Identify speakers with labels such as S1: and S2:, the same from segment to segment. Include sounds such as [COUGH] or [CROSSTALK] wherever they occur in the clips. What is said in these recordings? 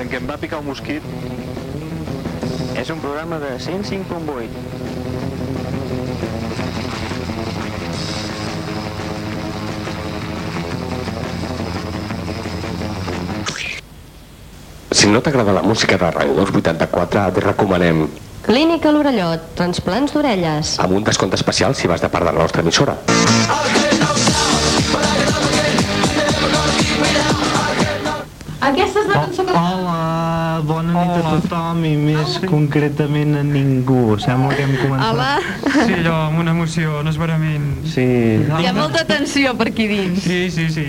S1: En què em va picar un mosquit.
S2: És un programa de 105.8.
S3: Si no t'agrada la música de Rangos 84, et recomanem
S4: Clínica l'Orellot, transplants d'orelles.
S3: amb un descompte especial si vas de part de la nostra emissora.
S5: Aquesta és la cançó que...
S6: Hola, bona nit Hola. a tothom i més concretament a ningú. Sembla que hem començat.
S7: Hola,
S8: Sí, allò, amb una emoció, no és verament...
S6: Sí.
S7: hi ha molta tensió per aquí dins.
S8: Sí, sí, sí.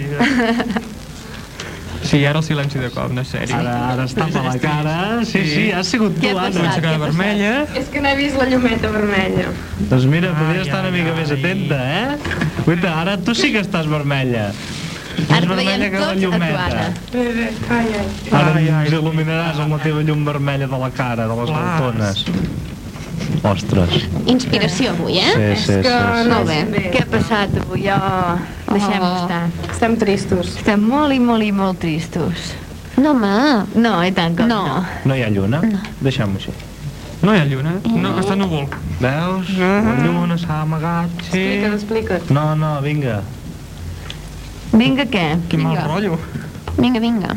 S8: Sí, ara el silenci de cop, no és sèrio.
S6: Ara, ara es tapa la cara. Sí, sí, has sigut
S7: Què
S6: tu,
S7: ha
S6: Anna.
S7: passat?
S8: Comença a quedar vermella.
S5: És que no he vist la llumeta vermella.
S6: Doncs mira, podria
S8: Ai,
S6: estar una
S8: ai,
S6: mica
S8: ai.
S6: més atenta, eh? Guaita, ara tu sí que estàs vermella.
S7: Ara
S6: Més
S7: et veiem
S6: vermella que la
S7: tots a tu,
S6: llumeta.
S7: Anna.
S5: Bé, bé, ai, ai.
S6: Ara
S8: Ai, ai.
S6: ens il·luminaràs amb la teva llum vermella de la cara, de les
S8: Clar.
S6: baltones. Ostres.
S4: Inspiració avui, eh?
S6: Sí, sí, sí. sí.
S4: Molt bé.
S5: Bé,
S7: Què ha passat avui? Oh, Deixem-ho
S4: Oh.
S7: estar.
S5: estem tristos.
S7: Estem molt i molt i molt tristos.
S4: No, home.
S7: No, i tant com
S4: No.
S7: no.
S6: No hi ha lluna? Deixem-ho així.
S8: No hi ha lluna, no, està núvol.
S6: Veus? La lluna s'ha amagat.
S8: Sí,
S5: Explica't, explica't.
S6: No, no, vinga.
S7: Vinga, què?
S8: quin mal
S4: Vinga.
S8: rotllo.
S4: Vinga, vinga.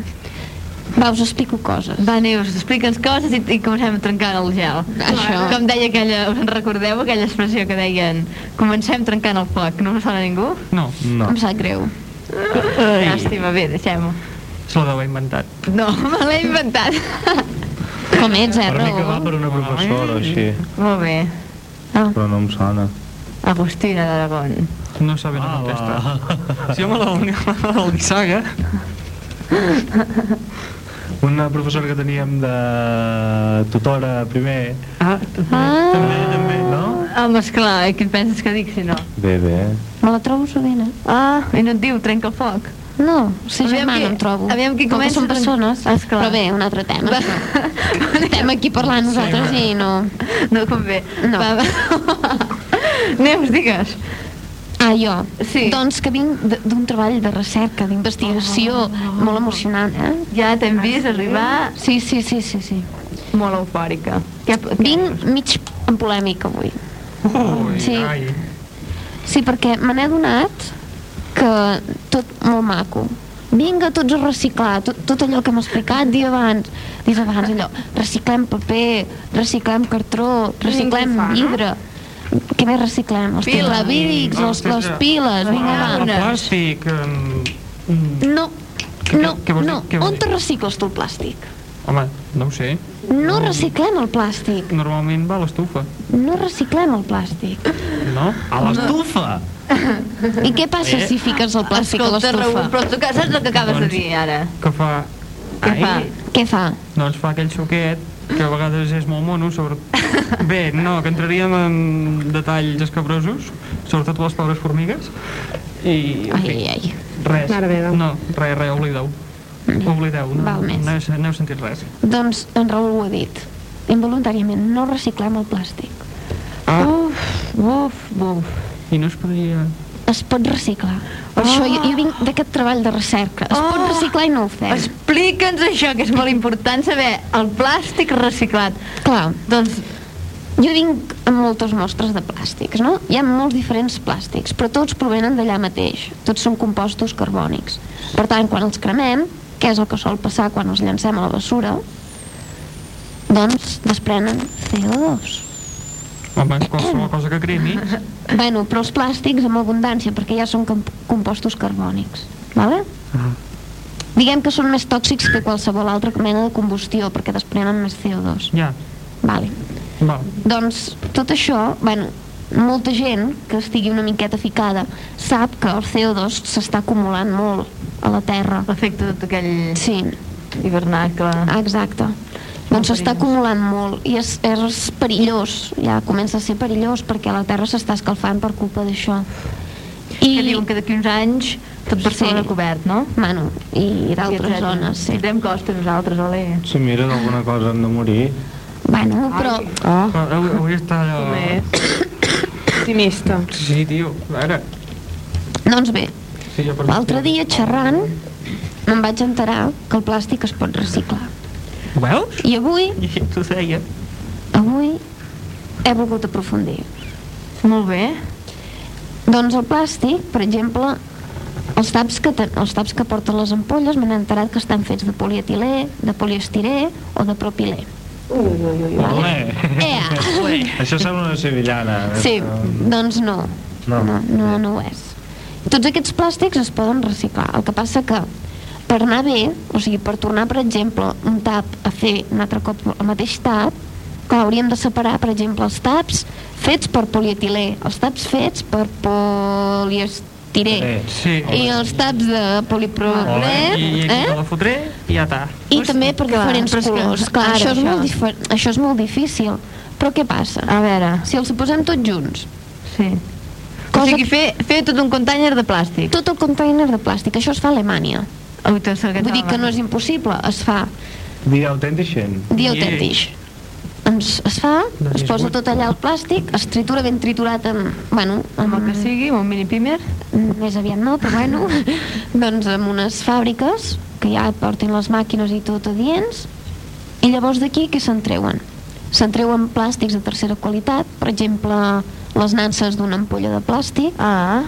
S4: Va, us explico coses.
S7: Va, Neus, explica'ns coses i, i comencem a trencar el gel.
S4: Això.
S7: Com deia aquella, us en recordeu aquella expressió que deien comencem trencant el foc, no us sona a ningú?
S8: No,
S6: No.
S4: Em sap greu.
S7: Ai. Llàstima, bé, deixem-ho.
S8: se l'ha d'haver inventat.
S7: No, [LAUGHS] me l'he inventat.
S4: Com ets, eh,
S6: Per mi que va
S4: Raül?
S6: per una professora, així,
S7: molt bé.
S4: Ah.
S6: però no em sona. Ah,
S7: Agustina d'Aragón.
S8: No sabe, no contesta. Si Ah, home, la la del Nissaga,
S6: Una professora que teníem de tutora primer.
S8: ah,
S4: Ah,
S6: També, també, no?
S7: Home, esclar, eh, què et penses que dic si no?
S6: Bé, bé.
S4: me la trobo sovint, eh?
S7: Ah, i no et diu trenca el foc.
S4: No, o sigui,
S7: Aviam
S4: germana
S7: qui-
S4: em trobo.
S7: aviam qui
S4: Com que
S7: comença
S4: som
S7: a trencar-
S4: persones.
S7: Esclar.
S4: Però bé, un altre tema.
S7: Va.
S4: Estem aquí parlant nosaltres i no...
S7: No convé.
S4: No.
S7: Va, va.
S4: [LAUGHS]
S7: Neus, digues.
S4: Ah, jo?
S7: Sí.
S4: Doncs que vinc d- d'un treball de recerca, d'investigació,
S7: Oh,
S4: molt emocionant, eh?
S7: Ja t'hem vist arribar
S4: Sí, sí, sí, sí, sí.
S7: molt eufòrica. Què,
S4: Vinc mig en polèmica avui.
S8: ui,
S4: Sí.
S8: ai.
S4: Sí, perquè me n'he adonat que tot molt maco. Vinga, tots a reciclar, tot, tot allò que hem explicat dia abans, dies abans, allò, reciclem paper, reciclem cartró, reciclem
S5: Ningú fa, no?
S4: vidre. Què més reciclem? Els
S7: Pila.
S4: tetravírics, els,
S8: Ostres,
S4: les piles, vinga,
S8: Ah,
S4: va.
S8: el
S7: Unes.
S8: plàstic... em, mm,
S4: No,
S8: Què-
S4: no,
S8: què vols dir?
S4: no.
S8: Què vols
S4: On te
S8: dir?
S4: recicles tu el plàstic?
S8: Home, no ho sé.
S4: No reciclem el plàstic.
S8: Normalment va a l'estufa,
S4: No reciclem el plàstic.
S8: no?
S6: A l'estufa!
S4: I què passa si fiques el plàstic a
S7: Eh, Escolta, Raül,
S4: l'estufa?
S7: però tu que saps el que acabes de
S8: Doncs-
S7: dir ara.
S8: Que fa...
S7: Què fa?
S4: Què fa?
S8: Doncs fa aquell xoquet que a vegades és molt mono,
S4: [LAUGHS]
S8: sobre... Bé, no, que entraríem en detalls escabrosos, sobretot les pobres formigues, i... en
S4: Ai,
S8: fi,
S4: ai, ai.
S8: Res.
S5: Ara ve, doncs.
S8: No, res, res, oblideu. Oblideu, no,
S4: Val més.
S8: no, he, no heu sentit res.
S4: Doncs en Raül ho ha dit. Involuntàriament no reciclem el plàstic.
S8: Ah.
S4: Uf, uf, uf.
S8: I no es podria...
S4: Es pot reciclar. Per això jo, jo vinc d'aquest treball de recerca. Es pot
S7: Oh.
S4: reciclar i no ho fem. Ah. Es...
S7: Explica'ns això, que és molt important saber el plàstic reciclat.
S4: Clar,
S7: Doncs,
S4: jo vinc amb moltes mostres de plàstics, no? Hi ha molts diferents plàstics, però tots provenen d'allà mateix. Tots són compostos carbònics. Per tant, quan els cremem, que és el que sol passar quan els llancem a la bessura, doncs desprenen CO2.
S8: Home, qualsevol cosa que cremi...
S4: Bueno, però els plàstics amb abundància, perquè ja són com- compostos carbònics, vale? Diguem que són més tòxics que qualsevol altra mena de combustió, perquè desprenen més CO2.
S8: Ja,
S4: Vale.
S8: val.
S4: Doncs tot això, bueno, molta gent que estigui una miqueta ficada sap que el CO2 s'està acumulant molt a la Terra.
S7: l'efecte de tot aquell
S4: Sí,
S7: hivernacle.
S4: ah, exacte. Doncs s'està acumulant molt i és, és perillós, ja comença a ser perillós perquè la Terra s'està escalfant per culpa d'això.
S7: I... Que diuen que d'aquí uns anys tot Barcelona
S4: Sí.
S7: cobert, no?
S4: Bueno, i d'altres
S7: Etcètera.
S4: zones, sí.
S7: Tindrem costa nosaltres, olé.
S6: Si mira, d'alguna cosa hem de morir.
S4: Bueno, però
S8: [COUGHS] Però Avui, avui està allò...
S7: Bé.
S5: pessimista.
S8: Sí, tio, a veure...
S4: Doncs bé,
S8: Sí, jo per
S4: l'altre dia xerrant me'n vaig enterar que el plàstic es pot reciclar.
S8: Ho veus?
S4: I avui,
S8: I així t'ho deia.
S4: avui he volgut aprofundir.
S7: Molt bé.
S4: Doncs el plàstic, per exemple, els taps que, ten, els taps que porten les ampolles m'han enterat que estan fets de polietilè, de poliestirè o de propilè.
S6: Ole.
S4: Ea!
S6: Això sembla una sevillana.
S4: Eh, ah.
S6: Eh,
S4: Sí, doncs no.
S6: No.
S4: No, no, no ho és. Tots aquests plàstics es poden reciclar. El que passa que per anar bé, o sigui, per tornar, per exemple, un tap a fer un altre cop el mateix tap, clar, hauríem de separar, per exemple, els taps fets per polietilè, els taps fets per poliestirè,
S6: Eh,
S8: Sí.
S4: i els taps de polipropilè,
S8: I, i aquí
S4: eh?
S8: te la fotré i ja està.
S4: I
S7: Hosti,
S4: també per
S7: clar,
S4: diferents
S7: però és que-
S4: colors. Clar,
S7: ara,
S4: això, és
S7: això.
S4: molt difer això és molt difícil. Però què passa?
S7: A veure,
S4: Si els posem tots junts,
S7: sí.
S4: Cosa
S7: O sigui,
S4: que-
S7: fer, fer tot un container de plàstic.
S4: tot el container de plàstic, això es fa a Alemanya.
S7: Ui, tot el
S4: Vull dir que no és impossible, es fa
S6: The Authentication.
S4: The Authentish. Ens, es fa,
S8: Doncs
S4: es
S8: és
S4: posa
S8: bo.
S4: tot allà el plàstic, es tritura ben triturat amb, bueno,
S7: Amb el
S4: amb,
S7: que sigui, amb un mini primer.
S4: més aviat no, però
S7: [LAUGHS]
S4: bueno, doncs amb unes fàbriques que ja et portin les màquines i tot a dients, i llavors d'aquí què se'n treuen? Se'n treuen plàstics de tercera qualitat, per exemple, les nances d'una ampolla de plàstic,
S7: Ah,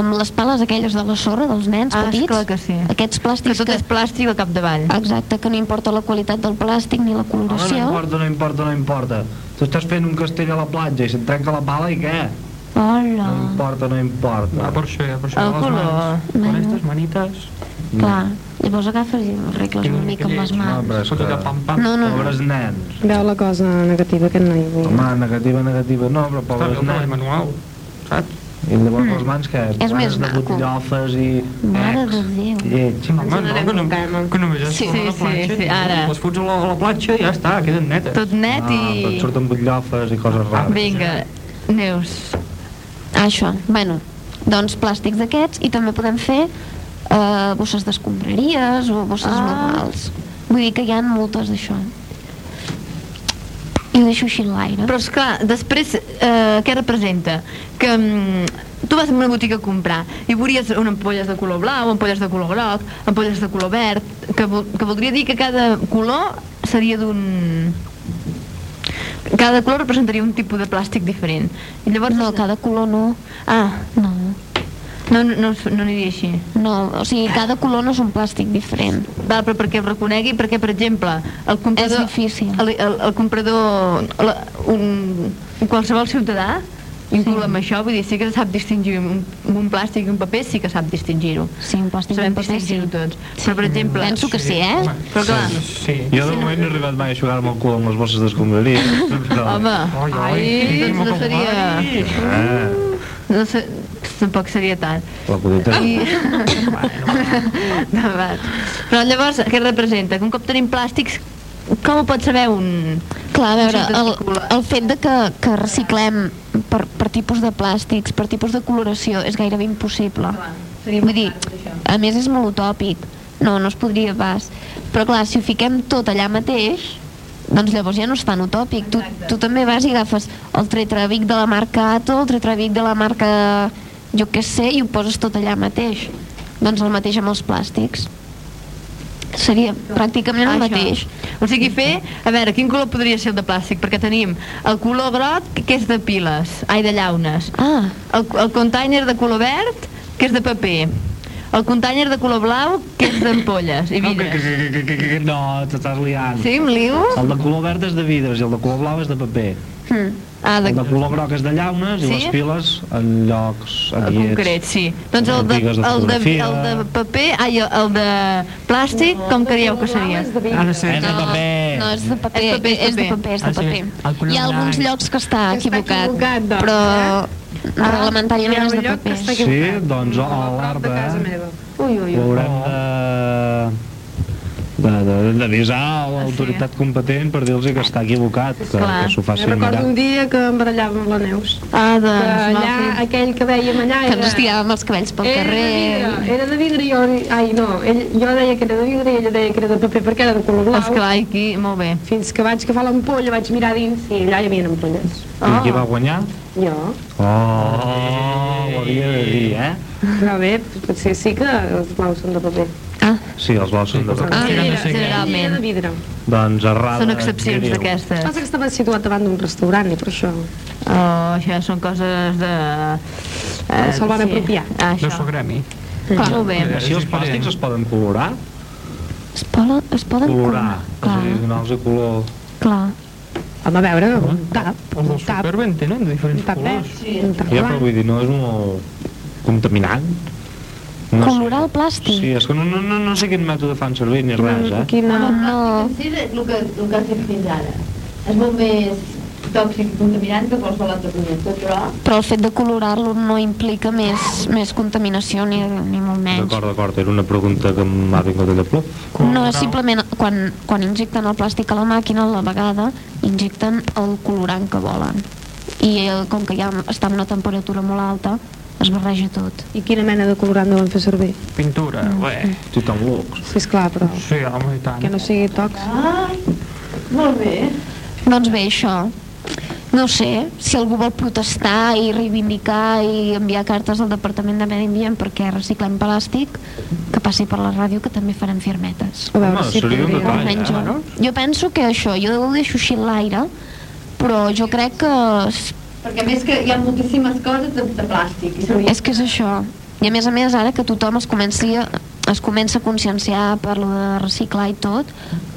S4: amb les pales aquelles de la sorra dels nens
S7: Ah,
S4: petits,
S7: esclar que sí.
S4: aquests
S7: que
S4: plàstics
S7: tot és plàstic al capdavall.
S4: Exacte, que no importa la qualitat del plàstic ni la
S6: Home, no
S4: coloració.
S6: importa, no importa, no importa. Tu estàs fent un castell a la platja i se't trenca la pala i què?
S4: Hola.
S6: No importa, no importa.
S8: Ah, per això, ja, per això.
S7: El
S8: les
S7: color.
S8: mans.
S4: Bueno.
S8: Con estas manitas.
S4: Clar, llavors agafes i ho arregles una mica amb les mans.
S6: però és
S8: Foto
S6: que-
S8: de pam, pam.
S4: No, no, no.
S6: Pobres nens.
S5: Veu la cosa negativa aquest noi.
S6: Home, negativa, negativa, no, però
S8: Està bé,
S6: pobres
S8: el treball
S6: nens.
S8: manual, saps?
S6: I llavors les mans que...
S4: És més
S6: de
S4: maco.
S6: botllofes i... eh,
S4: Mare de Déu.
S6: Lleig.
S8: No, home, no, que no, que només és
S7: Sí,
S8: com una
S7: sí,
S8: planxa,
S7: sí,
S8: tio.
S7: ara.
S8: Les fots a la, a la platja i ja està, queden netes.
S7: Tot net
S6: Ah, però et
S7: i...
S6: surten butllofes i coses rares.
S7: Vinga, Neus.
S4: Ah, això. Bueno, doncs plàstics d'aquests i també podem fer eh, bosses d'escombraries o bosses
S7: Ah.
S4: normals. Vull dir que hi ha moltes d'això. I ho deixo així en l'aire.
S7: Però és clar, després, eh, què representa? Que mm, tu vas a una botiga a comprar i veuries un ampolles de color blau, ampolles de color groc, ampolles de color verd, que, vol, que voldria dir que cada color seria d'un... Cada color representaria un tipus de plàstic diferent. I llavors...
S4: No, cada color no.
S7: Ah,
S4: No,
S7: no, no, no, no aniria així.
S4: no. O sigui, cada color no és un plàstic diferent.
S7: Val, però perquè ho reconegui, perquè, per exemple, el comprador...
S4: És difícil.
S7: El, el, el comprador, la, un, un qualsevol ciutadà, inclou amb això, vull dir, sí que sap distingir un, un plàstic i un paper, sí que sap distingir-ho.
S4: Sí, un plàstic
S7: Sabem
S4: d'un paper, sí.
S7: distingir-ho tots. Però, per exemple...
S4: Penso que sí, eh?
S8: Home,
S7: Però clar,
S8: Sí.
S6: Jo de moment no he arribat mai a jugar-me el cul amb les bosses d'escombraria. Però...
S7: home,
S8: Ai, ai,
S7: ai, doncs
S8: quin
S7: no
S8: vocabulari.
S7: seria...
S6: Ah,
S7: No sé, tampoc seria tant.
S6: la codita.
S7: I... [LAUGHS] Davant. Però llavors, què representa? Que un cop tenim plàstics, com ho pot saber un...
S4: Clar, a veure,
S7: Sí,
S4: el,
S7: testicular.
S4: el fet de que, que reciclem per, per tipus de plàstics, per tipus de coloració, és gairebé impossible.
S5: seria
S4: Vull dir,
S5: impossible, això.
S4: a més és molt utòpic, no, no es podria pas. Però clar, si ho fiquem tot allà mateix, doncs llavors ja no és tan utòpic. Tu, tu també vas i agafes el tretravic de la marca Ato, el tretravic de la marca jo què sé, i ho poses tot allà mateix. Doncs el mateix amb els plàstics. Seria pràcticament el
S7: Això.
S4: mateix.
S7: O sigui, fer... A veure, quin color podria ser el de plàstic? Perquè tenim el color groc, que és de piles, ai, de llaunes.
S4: Ah,
S7: El, el container de color verd, que és de paper. El container de color blau, que és d'ampolles i
S6: No, que, que,
S7: vidres.
S6: que, que, que, que, que, no, t'estàs liant.
S7: Sí, em lio?
S6: El de color verd és de vidres i el de color blau és de paper.
S4: hm.
S7: Ah, de,
S6: El de color groc és de llaunes
S7: Sí?
S6: i les piles en llocs
S7: en
S6: adients.
S7: concret, sí. Doncs el de,
S6: Botigues de
S7: el de,
S6: fotografia.
S7: el de paper, ai, el- el de plàstic, com creieu que seria?
S8: Ha de ser.
S6: És de paper.
S4: No, és de paper,
S7: És paper, és
S4: és de
S7: paper.
S4: paper, és de
S8: Ah, sí.
S4: paper.
S8: El color
S4: Hi ha alguns
S8: blanc.
S4: llocs que està
S5: Que està
S4: equivocat,
S5: equivocat, doncs,
S4: però
S5: Ah, hi ha
S4: reglamentàriament
S5: un
S4: és de
S5: lloc que
S4: paper.
S5: està
S6: Sí,
S5: equivocat.
S6: doncs, a eh?
S5: prop
S6: l'arbre.
S5: de casa meva.
S7: Ui, ui,
S6: Ho
S7: ui.
S6: haurem de de- d'avisar a l'autoritat competent per dir-los que està equivocat, que,
S7: Clar.
S6: que s'ho facin mirar.
S5: Recordo un dia que em barallava amb la Neus.
S7: Ah,
S5: Que
S7: doncs, mal
S5: allà,
S7: fet.
S5: aquell que veiem allà
S4: Que ens tiràvem els cabells
S9: Eh,
S4: pel
S5: era de
S4: carrer.
S5: vidre, era de vidre i jo... Ai, no, ell, jo deia que era de vidre i ella deia que era de paper perquè era de color blau.
S7: Esclar, aquí, molt bé.
S5: Fins que vaig agafar l'ampolla, vaig mirar dins i allà hi havia ampolles.
S9: Oh.
S6: I qui va guanyar?
S5: Jo.
S6: Oh, ho havia de dir, eh?
S5: Però bé, potser sí que els blaus són de paper.
S4: Ah,
S6: Sí, els vols són de paper.
S7: Ah,
S8: Sí,
S7: mira,
S8: no sé què.
S5: Era de
S7: generalment.
S5: vidre.
S6: Doncs errada.
S7: Són excepcions
S6: greu.
S7: d'aquestes.
S5: Passa que estava situat davant d'un restaurant i per això...
S7: Oh, això són coses de...
S6: Eh,
S5: No Eh, se'l van apropiar.
S8: De
S7: Ah, això.
S8: Sogremi.
S7: Clar, molt bé.
S6: Així els plàstics es poden colorar?
S4: es poden... Es poden
S6: Colorar. És a
S4: Clar,
S6: dir, donar-los a color...
S4: clar.
S5: Home, a veure,
S6: Ah.
S5: un tap,
S8: Els
S5: un
S8: del
S5: tap,
S8: Superben tenen de
S5: un
S8: diferents
S5: tap verd,
S8: colors.
S5: un tap
S6: Ja, però
S5: blanc.
S6: vull dir, no és molt contaminant? No
S4: Colorar el plàstic?
S6: Sí, és que no, no, no, no sé quin mètode fan servir ni res, eh?
S5: Quina...
S7: Ah,
S4: No,
S7: Sí, és el que, el que has fet fins ara. És molt més tòxic i contaminant que qualsevol altre producte, però...
S4: però el fet de colorar-lo no implica més, més contaminació ni, ni molt menys.
S6: D'acord, d'acord, era una pregunta que m'ha vingut allà plop.
S4: No, simplement quan, quan injecten el plàstic a la màquina, a la vegada injecten el colorant que volen. I el, com que ja està a una temperatura molt alta, es barreja tot.
S5: I quina mena de colorant deuen fer servir?
S8: Pintura, bé.
S6: Tothom lux.
S5: Sí, esclar, però
S6: Doncs-
S8: Sí, home, i tant.
S5: que no sigui tòxic.
S7: Ai, molt bé.
S4: Doncs bé, això. No sé, si algú vol protestar i reivindicar i enviar cartes al Departament de Medi Ambient perquè reciclem plàstic, que passi per la ràdio, que també farem firmetes.
S5: A veure
S6: Home,
S5: si
S6: seria un
S5: podria...
S6: detall.
S4: Almenys
S6: eh?
S4: jo. Jo penso que això, jo ho deixo així en l'aire, però jo crec que s-
S7: Perquè a més que hi ha moltíssimes coses de, de plàstic. I
S4: És que és això. I a més a més, ara que tothom es comenci a, es comença a conscienciar per lo de reciclar i tot,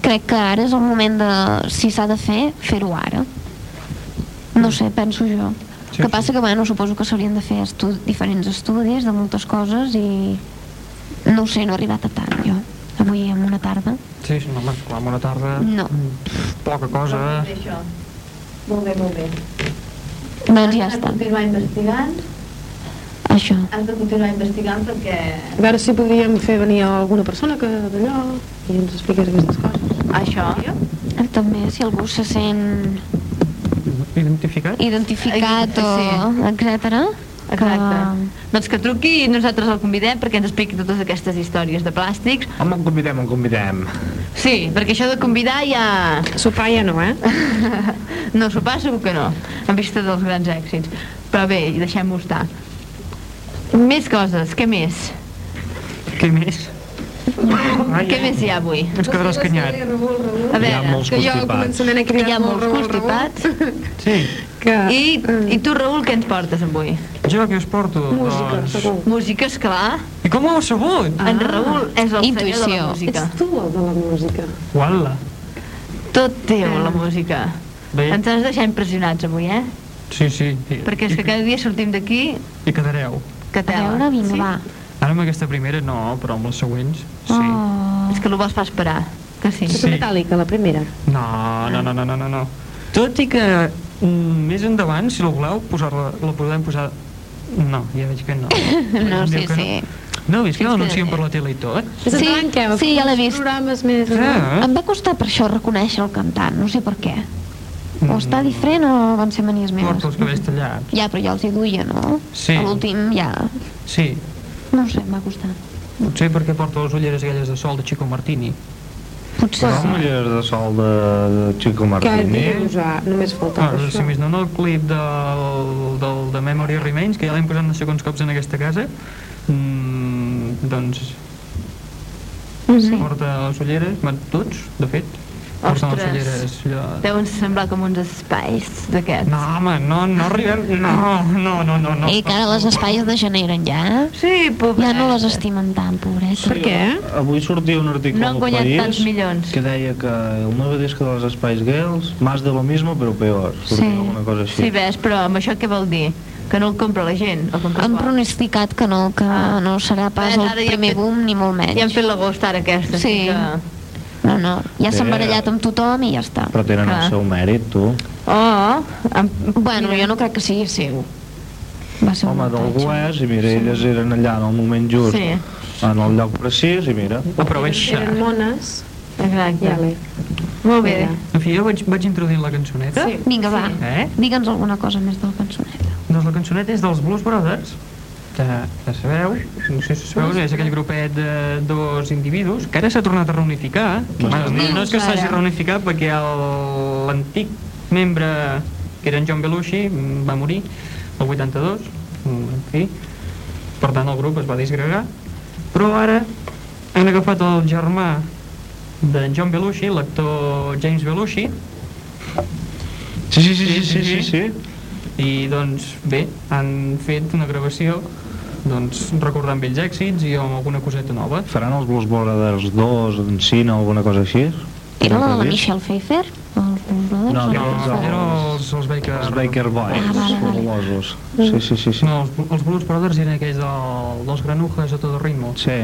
S4: crec que ara és el moment de, si s'ha de fer, fer-ho ara. No sé, penso jo.
S8: Sí,
S4: Sí, que passa que, bueno, suposo que s'haurien de fer estu diferents estudis de moltes coses i no ho sé, no he arribat a tant jo, avui en una tarda.
S8: Sí, sí, home, clar, amb una tarda...
S4: No.
S8: mm, Poca cosa...
S7: Això. Molt bé, molt bé.
S4: Doncs ja està,
S7: Has de continuar investigant,
S4: això.
S7: has de continuar investigant perquè...
S6: eh?
S5: A veure si podríem fer venir alguna persona que d'allò i ens expliqués aquestes coses.
S7: Això.
S4: També, si algú se sent
S8: Identificat?
S4: identificat o
S7: Sí.
S4: etcètera,
S7: Exacte.
S4: que
S7: Doncs que truqui i nosaltres el convidem perquè ens expliqui totes aquestes històries de plàstics.
S6: Home, en convidem, en convidem.
S7: Sí, perquè això de convidar ja...
S5: Sopar ja no,
S6: [LAUGHS]
S5: eh?
S7: No, sopar segur que no, en vista dels grans èxits. Però bé, deixem-ho estar. Més coses, què més?
S8: Què més? Ai,
S7: Què més hi ha avui?
S8: Ens quedarà escanyat.
S7: A
S6: Hi ha
S7: veure,
S6: molts
S5: Que jo al
S6: constipats.
S5: començament he
S7: que
S5: cridat
S7: hi ha molts
S5: Raül, Raül,
S7: constipats.
S8: Sí.
S5: Que... eh,
S7: I, I tu, Raül, què ens portes avui?
S8: Jo que us porto,
S5: Música,
S8: doncs...
S5: segur.
S7: Música, esclar.
S8: I com ho heu sabut?
S7: Ah. En Raül és el senyor de la
S4: Intuïció.
S7: música.
S5: Ets tu el de la música.
S8: Uala.
S7: Tot teu, la música.
S8: Bé.
S7: Ens has deixat impressionats avui, eh?
S8: Sí, sí. I,
S7: Perquè és que cada dia sortim d'aquí
S8: I quedareu.
S7: que
S4: A
S7: tela.
S4: veure, vinga, va.
S8: Ara amb aquesta primera no, però amb les següents, sí.
S4: Oh.
S7: És que el vols fa esperar, que sí.
S5: És
S8: Sí.
S5: metàl·lica, la primera.
S8: No, no, no, no, no, no, no. Tot i que mm, més endavant, si la voleu, posar-la, la podem posar... No, ja veig que no.
S4: No,
S8: Em diu
S4: sí,
S8: que
S4: sí.
S8: No, no veig que
S7: Fins
S8: l'anuncien
S7: que-
S8: per la tele i tot.
S5: Més
S4: Sí,
S5: endavant, què?
S4: sí, ja l'he
S5: Uns
S4: vist.
S5: Programes més...
S8: Ah,
S4: Oh. Em va costar per això reconèixer el cantant, no sé per què. O
S7: Mm.
S4: està diferent o van ser manies meves.
S8: porta els cabells tallats.
S4: Ja, però ja els hi duia, no?
S8: Sí.
S4: A l'últim ja...
S8: Sí,
S4: No ho sé, em va costar.
S8: potser perquè porta les ulleres aquelles de sol de Chico Martini.
S4: Potser
S6: Són
S4: sí.
S6: ulleres de sol de, de Chico
S5: Que
S6: Martini.
S5: dius, ah, només
S8: Ah,
S5: faltava
S8: doncs, si
S5: això.
S8: més no, no, el clip del, del de Memory Remains, que ja l'hem posat no sé quants cops en aquesta casa, mm, doncs
S7: Mm-hmm.
S4: Sí.
S8: porta les ulleres, bueno, tots, de fet, porten les
S7: Ostres.
S8: ulleres allò...
S7: Deuen semblar com uns espais d'aquests.
S8: No, home, no, no arribem... No, no, no, no, no.
S4: Ei, Eh, que ara les espais degeneren ja, eh?
S7: Sí, pobret.
S4: Ja no les estimen tant, pobreta.
S5: Per què?
S6: Avui sortia un article
S7: No han
S6: al
S7: guanyat
S6: País
S7: tants milions.
S6: que deia que el nou disc dels Espais Gales más de lo mismo, però peor. Sortia
S4: Sí.
S6: alguna cosa així.
S7: Sí, ves, però amb això què vol dir? Que no el compra la gent? El compra
S4: Han
S7: qual?
S4: pronosticat que no, que no serà pas
S7: Ara ja
S4: el
S7: han
S4: primer
S7: fet-
S4: boom ni molt
S7: Ja han
S4: menys.
S7: fet l'agost ara aquesta.
S4: Sí.
S7: Que...
S4: No, no, ja s'han
S6: Bé.
S4: barallat amb tothom i ja està.
S6: Eh, Però tenen
S7: Clar.
S6: el seu mèrit, tu.
S7: Oh, em...
S4: Bueno, jo no crec que sigui seu. Va ser un
S6: Home, d'algú
S4: muntatge.
S6: és, i mira, elles eren allà en el moment just,
S7: Sí.
S6: en el lloc precís, i mira.
S8: Ho proveixa.
S5: Eren mones.
S7: Exacte.
S5: Ja l'he.
S7: Molt bé.
S8: En fi, jo vaig, vaig introduint la cançoneta.
S7: Sí.
S4: Vinga, va.
S7: Sí.
S8: Eh?
S4: Digue'ns alguna cosa més de la cançoneta.
S8: Doncs la cançoneta és dels Blues Brothers, que ja sabeu, no sé si sabeu, és aquell grupet de dos individus que ara s'ha tornat a reunificar. Bueno, no, no és que s'hagi reunificat perquè el- l'antic membre que era en John Belushi, mm, va morir el 82, mm, en fi. Per tant, el grup es va disgregar. Però ara han agafat el germà d'en John Belushi, l'actor James Belushi,
S6: Sí, sí, sí,
S8: Sí,
S6: sí, sí, sí,
S8: sí,
S6: sí.
S8: i doncs bé, han fet una gravació doncs recordant vells èxits i amb alguna coseta nova.
S6: Faran els Blues Brothers 2 en cine o alguna cosa així?
S4: Era la de la
S6: Sí.
S4: Michelle Pfeiffer? Els Blues Brothers?
S6: No,
S8: No,
S6: Els-
S8: eren els, els Baker...
S6: Ah, doncs, Els Baker Boys,
S4: Ah, vale, vale.
S6: fabulosos. Sí, sí, sí, sí.
S8: No, els, Blu- els Blues Brothers eren aquells del, dels granujas a tot ritmo.
S6: Sí,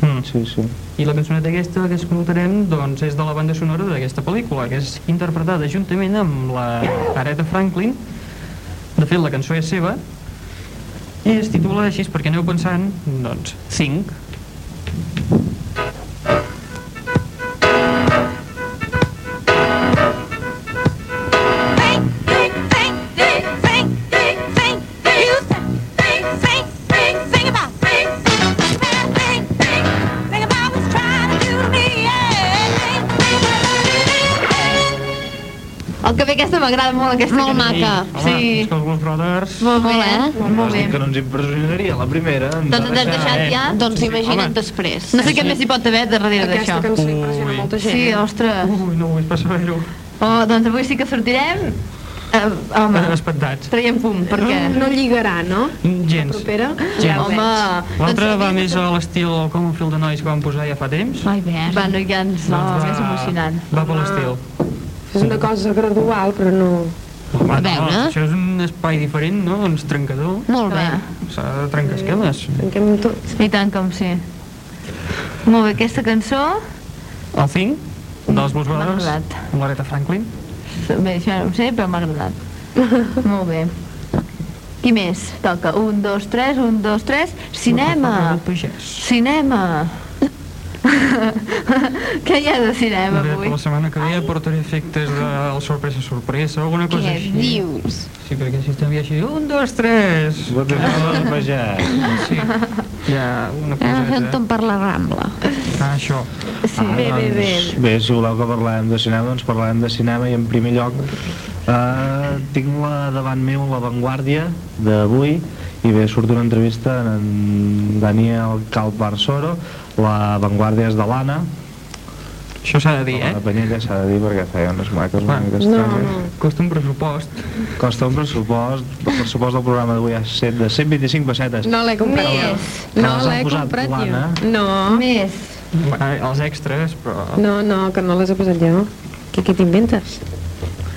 S8: Mm.
S6: sí, sí.
S8: I la cançoneta aquesta que escoltarem doncs, és de la banda sonora d'aquesta pel·lícula, que és interpretada juntament amb la Aretha Franklin. De fet, la cançó és seva. I es titula així perquè aneu pensant, doncs, Think.
S7: El que ve aquesta m'agrada molt, aquesta
S4: Molt
S7: cançó.
S4: maca.
S8: Home,
S7: Ah, Sí.
S8: és que els Blues Brothers...
S7: Molt bé,
S4: Molt bé.
S7: eh?
S8: Doncs
S7: Molt bé.
S6: Que no ens impressionaria la primera. ens
S7: Doncs
S6: ha
S7: ens has deixat ja...
S4: Doncs
S8: Sí,
S4: imagina't
S8: home.
S4: després.
S7: No sé què més hi pot haver darrere
S5: Aquesta
S7: d'això.
S5: cançó impressiona
S8: Ui.
S5: molta gent. eh?
S7: Sí, ostres.
S8: Ui, no vull pas saber-ho.
S7: Oh, doncs avui sí que sortirem... Eh, home,
S8: [LAUGHS] Espantats.
S7: traiem fum, perquè...
S5: No, no lligarà, no?
S8: Gens.
S5: Propera.
S8: Gens.
S5: ho
S7: Home...
S5: veig.
S8: L'altre
S7: doncs-
S8: va més a l'estil com un fil de nois que vam posar ja fa temps.
S4: Ai, bé.
S7: Va, no hi ha... Ah, No,
S8: Doncs
S7: és emocionant. Ah.
S8: Va per l'estil.
S5: És una cosa gradual, però no...
S8: Home,
S4: A
S8: no,
S4: veure.
S8: això és un espai diferent, no? Doncs trencador.
S4: Molt bé.
S8: S'ha de trencar esquemes.
S5: Tanquem tot.
S7: I tant com sí. Molt bé, aquesta cançó...
S8: El Thing, dels Blues
S7: M'ha
S8: Brothers,
S7: agradat.
S8: amb l'Areta Franklin.
S7: Bé, això no ho sé, però m'ha agradat.
S4: [LAUGHS]
S7: Molt bé. Qui més? Toca. Un, dos, tres, un, dos, tres. Cinema!
S8: Del Pagès.
S7: Cinema! [LAUGHS] Què hi ha de cinema
S8: Bé, per
S7: avui?
S8: la setmana que ve ja portaré efectes del sorpresa sorpresa, alguna cosa
S4: Què
S8: així.
S4: dius?
S8: Sí, perquè si també així, un, dos, tres.
S6: Ho de fer vegem.
S8: Sí, hi ha una
S7: Ah,
S4: Ara fem
S8: coseta.
S4: tot per la Rambla.
S8: Ah, això.
S7: Sí.
S6: Bé, bé, bé. Ah, doncs, Bé, si voleu que parlem de cinema, doncs parlem de cinema i en primer lloc eh, tinc la, davant meu la Vanguardia d'avui i bé, surt una entrevista en Daniel Calparsoro, la Vanguardia és de l'Anna,
S8: Això s'ha de dir,
S6: la
S8: eh?
S6: Panyella s'ha de dir perquè feia unes maques una
S8: Va.
S6: mica
S5: No,
S6: estranyes.
S5: no.
S8: Costa un pressupost.
S6: Costa un pressupost, el pressupost del programa d'avui és set- de 125 pessetes.
S5: No l'he comprat jo.
S7: Més.
S5: No
S6: Les han
S5: l'he
S6: posat
S5: comprat jo.
S6: l'Anna.
S5: No.
S7: Més.
S8: Va, els extras, però...
S5: No, no, que no les he posat jo. Què, què t'inventes?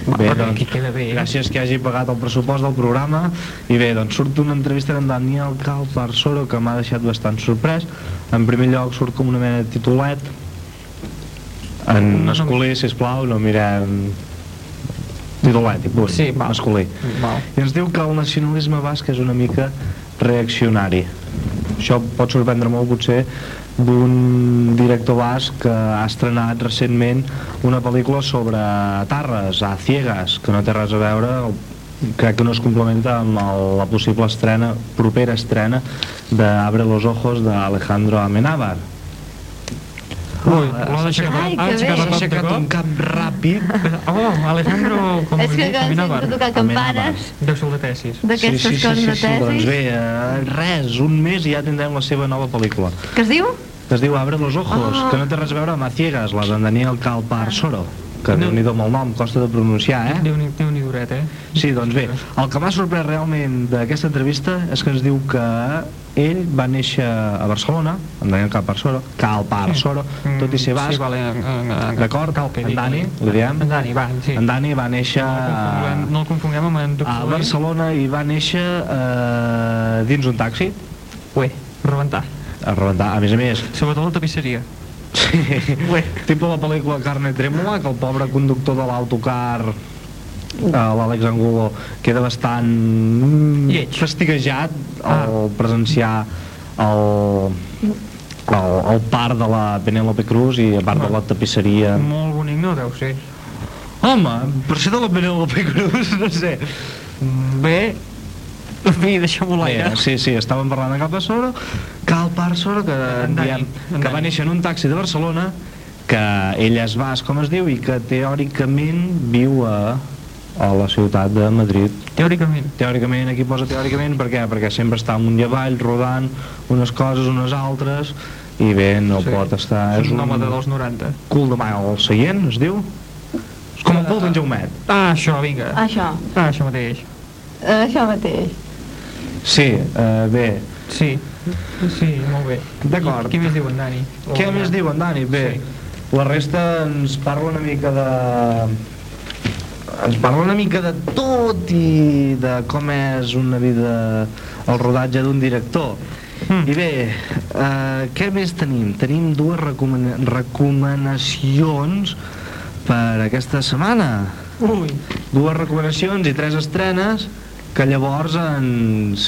S6: Bé,
S8: però
S6: doncs,
S8: aquí queda bé. eh?
S6: Gràcies que hagi pagat el pressupost del programa i bé, doncs surt una entrevista amb Daniel Calparsoro que m'ha deixat bastant sorprès en primer lloc surt com una mena de titulet
S8: Mm.
S6: en masculí, sisplau, no mirem titulet i punt,
S8: Sí, va.
S6: masculí
S8: Val.
S6: i ens diu que el nacionalisme basc és una mica reaccionari això pot sorprendre molt potser d'un director basc que ha estrenat recentment una pel·lícula sobre tarres, a ciegues, que no té res a veure crec que no es complementa amb el, la possible estrena, propera estrena d'Abre los ojos d'Alejandro Amenábar Ah,
S8: Ui, l'ha aixecat,
S7: Ai,
S8: ha
S7: que
S8: aixecat el cap de
S7: bé.
S8: cop.
S6: cap ràpid
S8: Oh, Alejandro, com
S7: [LAUGHS] És que quan
S8: caminava.
S7: sento tocar campanes
S8: Deu ser el de tesis.
S7: d'aquestes
S6: sí, sí,
S7: coses
S6: sí,
S7: de
S6: sí, sí, doncs
S7: tesis...
S6: bé, eh, res, un mes i ja tindrem la seva nova pel·lícula
S7: Què es diu?
S6: que es diu Abre los ojos,
S8: Ah.
S6: que no té res a veure amb a ciegues, la d'en Daniel Calparsoro, que
S8: No.
S6: no. déu-n'hi-do amb el nom, costa de pronunciar, eh?
S8: Déu ni, Déu ni duret, eh?
S6: Sí, doncs bé, el que m'ha sorprès realment d'aquesta entrevista és que ens diu que ell va néixer a Barcelona, en Daniel Calparsoro, Calparsoro, tot i ser basc,
S8: Mm, Sí, vale, en, en, en,
S6: D'acord,
S8: Calpe,
S6: en
S8: digue-li.
S6: Dani, li diem?
S8: En Dani, va, sí.
S6: en Dani va néixer a,
S8: No el confonguem- No el confonguem amb en
S6: a
S8: doctor Ui.
S6: Ah, Barcelona i va néixer eh, dins un taxi,
S8: Ui, rebentar.
S6: a rebentar, a més a més,
S8: Sobretot la tapisseria.
S6: Sí.
S8: Ué.
S6: Tipo la pel·lícula Carne Trèmola, que el pobre conductor de l'autocar eh, l'Àlex Angulo queda bastant mm,
S8: Lleig.
S6: fastiguejat
S8: Ah.
S6: al presenciar el, el, el part de la Penélope Cruz i a part de la tapisseria
S8: Molt bonic, no deu ser.
S6: home, per ser de la Penélope
S8: [LAUGHS]
S6: Cruz no sé
S8: Mm, Bé, en fi, deixem-ho a l'aire.
S6: Bé, Eh, sí, sí, estàvem parlant de Calpa Soro, Calpa Soro, que,
S8: En Dani,
S6: diem,
S8: en
S6: que va
S8: Dani.
S6: néixer en un taxi de Barcelona, que ell és basc, com es diu, i que teòricament viu a a la ciutat de Madrid.
S8: Teòricament.
S6: Teòricament, aquí posa teòricament, per què? Perquè sempre està amunt i avall, rodant unes coses, unes altres, i bé, no sí. pot estar...
S8: És un home de dels 90.
S6: cul de mà al seient, es diu? És com el cul d'en Jaumet.
S8: Ah, això, vinga. Ah,
S7: Això, Eh,
S8: això mateix.
S7: això mateix.
S6: Sí, eh, bé.
S8: Sí, sí, molt bé.
S6: D'acord.
S8: Què més diuen, Dani?
S6: Què més diuen, Dani? Bé, la resta ens parla una mica de... Ens parla una mica de tot i de com és una vida, el rodatge d'un director.
S8: Mm.
S6: I bé, eh, què més tenim? Tenim dues recomana recomanacions per aquesta setmana.
S8: Ui,
S6: Dues recomanacions i tres estrenes que llavors ens...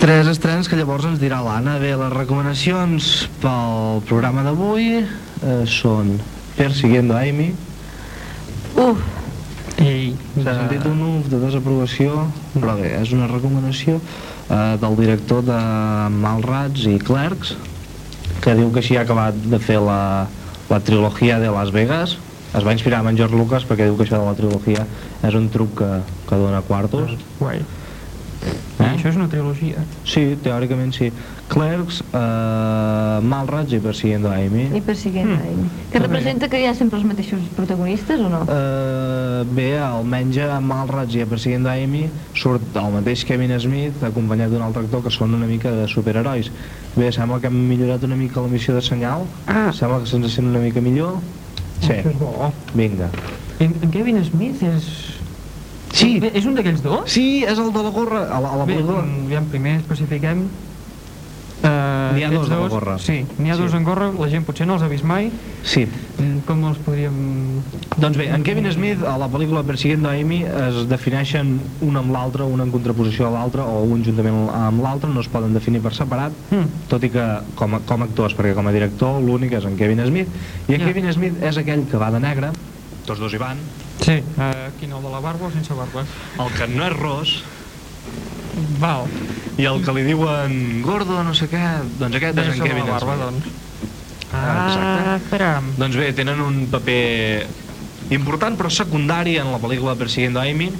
S6: Tres estrenes que llavors ens dirà l'Anna. Bé, les recomanacions pel programa d'avui eh, són Persiguiendo a Amy,
S7: Uf,
S8: ei,
S6: de sentit un uf de desaprovació, però bé, és una recomanació eh, del director de Malrats i Clerks, que diu que així ha acabat de fer la, la trilogia de Las Vegas. Es va inspirar en George Lucas perquè diu que això de la trilogia és un truc que, que dona quartos.
S8: Guai. Eh? I això és una trilogia.
S6: Sí, teòricament sí. Clerks, eh, Malrats i Persiguiendo a Amy.
S7: i persiguent
S8: Hmm.
S7: mm. ell. Que representa que hi ha sempre els mateixos protagonistes o no?
S6: Eh, bé, almenys a Malrats i a President d'Amy surt el mateix Kevin Smith acompanyat d'un altre actor que són una mica de superherois. Bé, sembla que hem millorat una mica la missió de senyal, ah. sembla que se'ns sent una mica millor. Sí,
S8: Això és bo.
S6: vinga.
S8: En, en Kevin Smith és...
S6: Sí, mm.
S8: Bé, És un d'aquells dos?
S6: sí, és el de la gorra, a la, a la
S8: Bé, doncs,
S6: gorra.
S8: aviam, primer especifiquem... Uh,
S6: N'hi ha dos de la gorra.
S8: Sí, n'hi ha
S6: Sí.
S8: dos en gorra, la gent potser no els ha vist mai.
S6: Sí.
S8: Mm, Com els podríem...
S6: Doncs bé, en Kevin Smith, a la pel·lícula Persiguiendo a Amy, es defineixen un amb l'altre, un en contraposició a l'altre, o un juntament amb l'altre, no es poden definir per separat,
S8: Mm.
S6: tot i que com a, com a actors, perquè com a director l'únic és en Kevin Smith, i en
S8: Ja.
S6: Kevin Smith és aquell que va de negre, tots dos hi van,
S8: Sí, uh, quin el de la barba o sense barba?
S6: el que no és ros,
S8: Val.
S6: i el que li diuen gordo, no sé què, doncs aquest és en
S8: Deixa la
S6: Kevin
S8: barba,
S6: Smith.
S8: doncs.
S6: Ah, exacte.
S8: caram.
S6: Doncs bé, tenen un paper important però secundari en la pel·lícula Persiguiendo a Amy,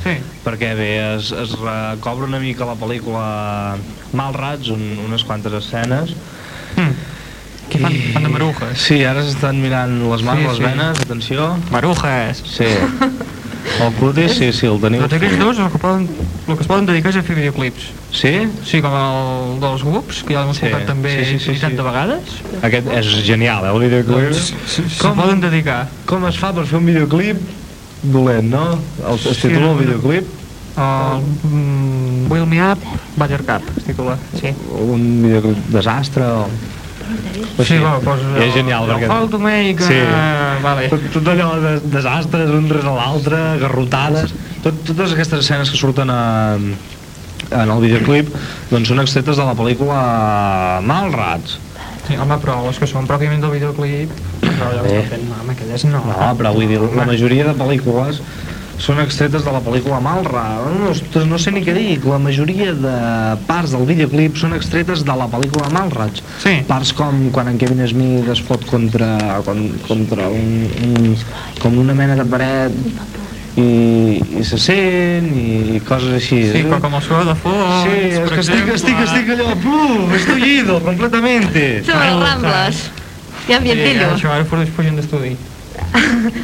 S8: Sí,
S6: perquè bé, es, es recobra una mica la pel·lícula Malrats, un, unes quantes escenes. Hm,
S8: que fan, fan de marujes.
S6: Sí, ara s'estan mirant les mans,
S8: Sí,
S6: sí, les
S8: sí.
S6: venes, atenció.
S8: Marujes!
S6: Sí.
S8: [LAUGHS]
S6: El cutis, sí, sí, el teniu.
S8: Tots aquests dos el que, poden, el que es poden dedicar és a fer videoclips.
S6: Sí?
S8: Sí, com el dels grups, que ja l'hem
S6: Sí,
S8: escoltat també
S6: sí, sí, sí,
S8: infinitat
S6: sí.
S8: de vegades.
S6: Aquest és genial, eh, el videoclip.
S8: Doncs, com
S6: Com,
S8: poden dedicar?
S6: com es fa per fer un videoclip dolent, no? El, es
S8: Sí,
S6: titula el
S8: no.
S6: videoclip,
S8: El Ah, mm, Will Me Up, Badger Cup, es titula. Sí.
S6: un videoclip desastre o... o
S8: Sí,
S6: així.
S8: va, poses...
S6: És genial,
S8: el,
S6: perquè...
S8: El How to make...
S6: Sí.
S8: Uh, vale.
S6: Tot, tot allò de desastres, un res a l'altre, garrotades... Tot, totes aquestes escenes que surten a, en el videoclip doncs són extretes de la pel·lícula Malrats.
S8: Sí, home, però les que són pròpiament del videoclip... Però allò que
S6: Bé.
S8: està fent, home, aquelles no.
S6: Eh. No, però vull dir, la majoria de pel·lícules són extretes de la pel·lícula Malrats. No, Ostres, no sé ni què dir, la majoria de parts del videoclip són extretes de la pel·lícula Malrats.
S8: Sí.
S6: Parts com quan en Kevin Smith es fot contra, con- contra un, un, com una mena de paret i, i se sent i, i coses així.
S8: Sí, però com el seu de fons,
S6: Sí, és
S8: per
S6: que estic,
S8: exemple.
S6: estic, estic allò, plum, estoy ido completamente.
S7: Sobre les Rambles. Hi ha ambient
S8: Sí,
S7: d'illo.
S8: això, ara fos fugint d'estudi.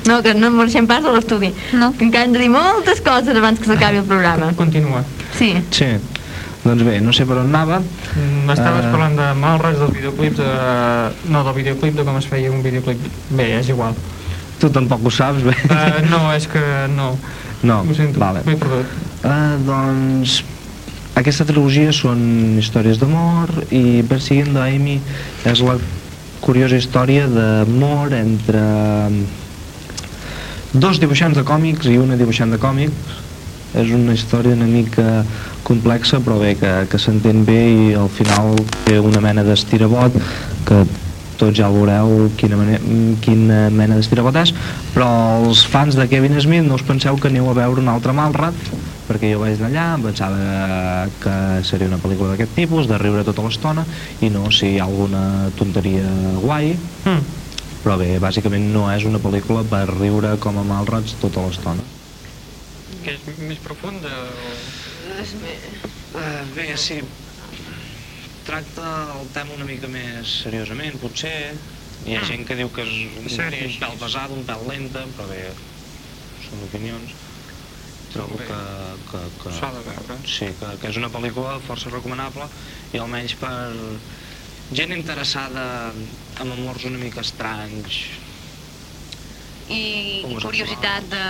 S7: No, que no marxem pas de l'estudi.
S4: No.
S7: Que encara hem de dir moltes coses abans que s'acabi el programa.
S8: Continua.
S7: Sí.
S6: Sí, doncs bé, no sé per on anava.
S8: Mm, Estaves
S6: Eh.
S8: parlant de Malres, dels videoclips, de... no, del videoclip, de com es feia un videoclip. Bé, és
S6: [LAUGHS]
S8: igual.
S6: Tu tampoc ho saps, bé.
S8: Uh, no, és que no.
S6: No,
S8: Ho sento,
S6: vale.
S8: m'he perdut.
S6: Ah, doncs... Aquesta trilogia són històries d'amor i Persiguiendo a Amy és la curiosa història d'amor entre dos dibuixants de còmics i una dibuixant de còmics. És una història una mica complexa, però bé, que, que s'entén bé i al final té una mena d'estirabot que tots ja veureu quina, mane- mm, quina mena d'estirabot és, però els fans de Kevin Smith no us penseu que aneu a veure un altre Malrat, perquè jo vaig anar allà, em pensava que seria una pel·lícula d'aquest tipus, de riure tota l'estona, i no, si hi ha alguna tonteria guai,
S8: Mm.
S10: però bé, bàsicament no és una pel·lícula per riure com a malrots tota l'estona.
S8: Que és més profunda o...
S6: Eh, bé, sí. Tracta el tema una mica més seriosament, potser. Hi ha gent que diu que és un,
S8: Sèrie,
S6: un
S8: així.
S6: pèl pesada, un pèl lenta, però bé, són opinions. Trobo
S8: Bé.
S6: que, que, que...
S8: S'ha de veure.
S6: Sí, que, que és una pel·lícula força recomanable i almenys per gent interessada en amors una mica estranys.
S7: I, i curiositat de,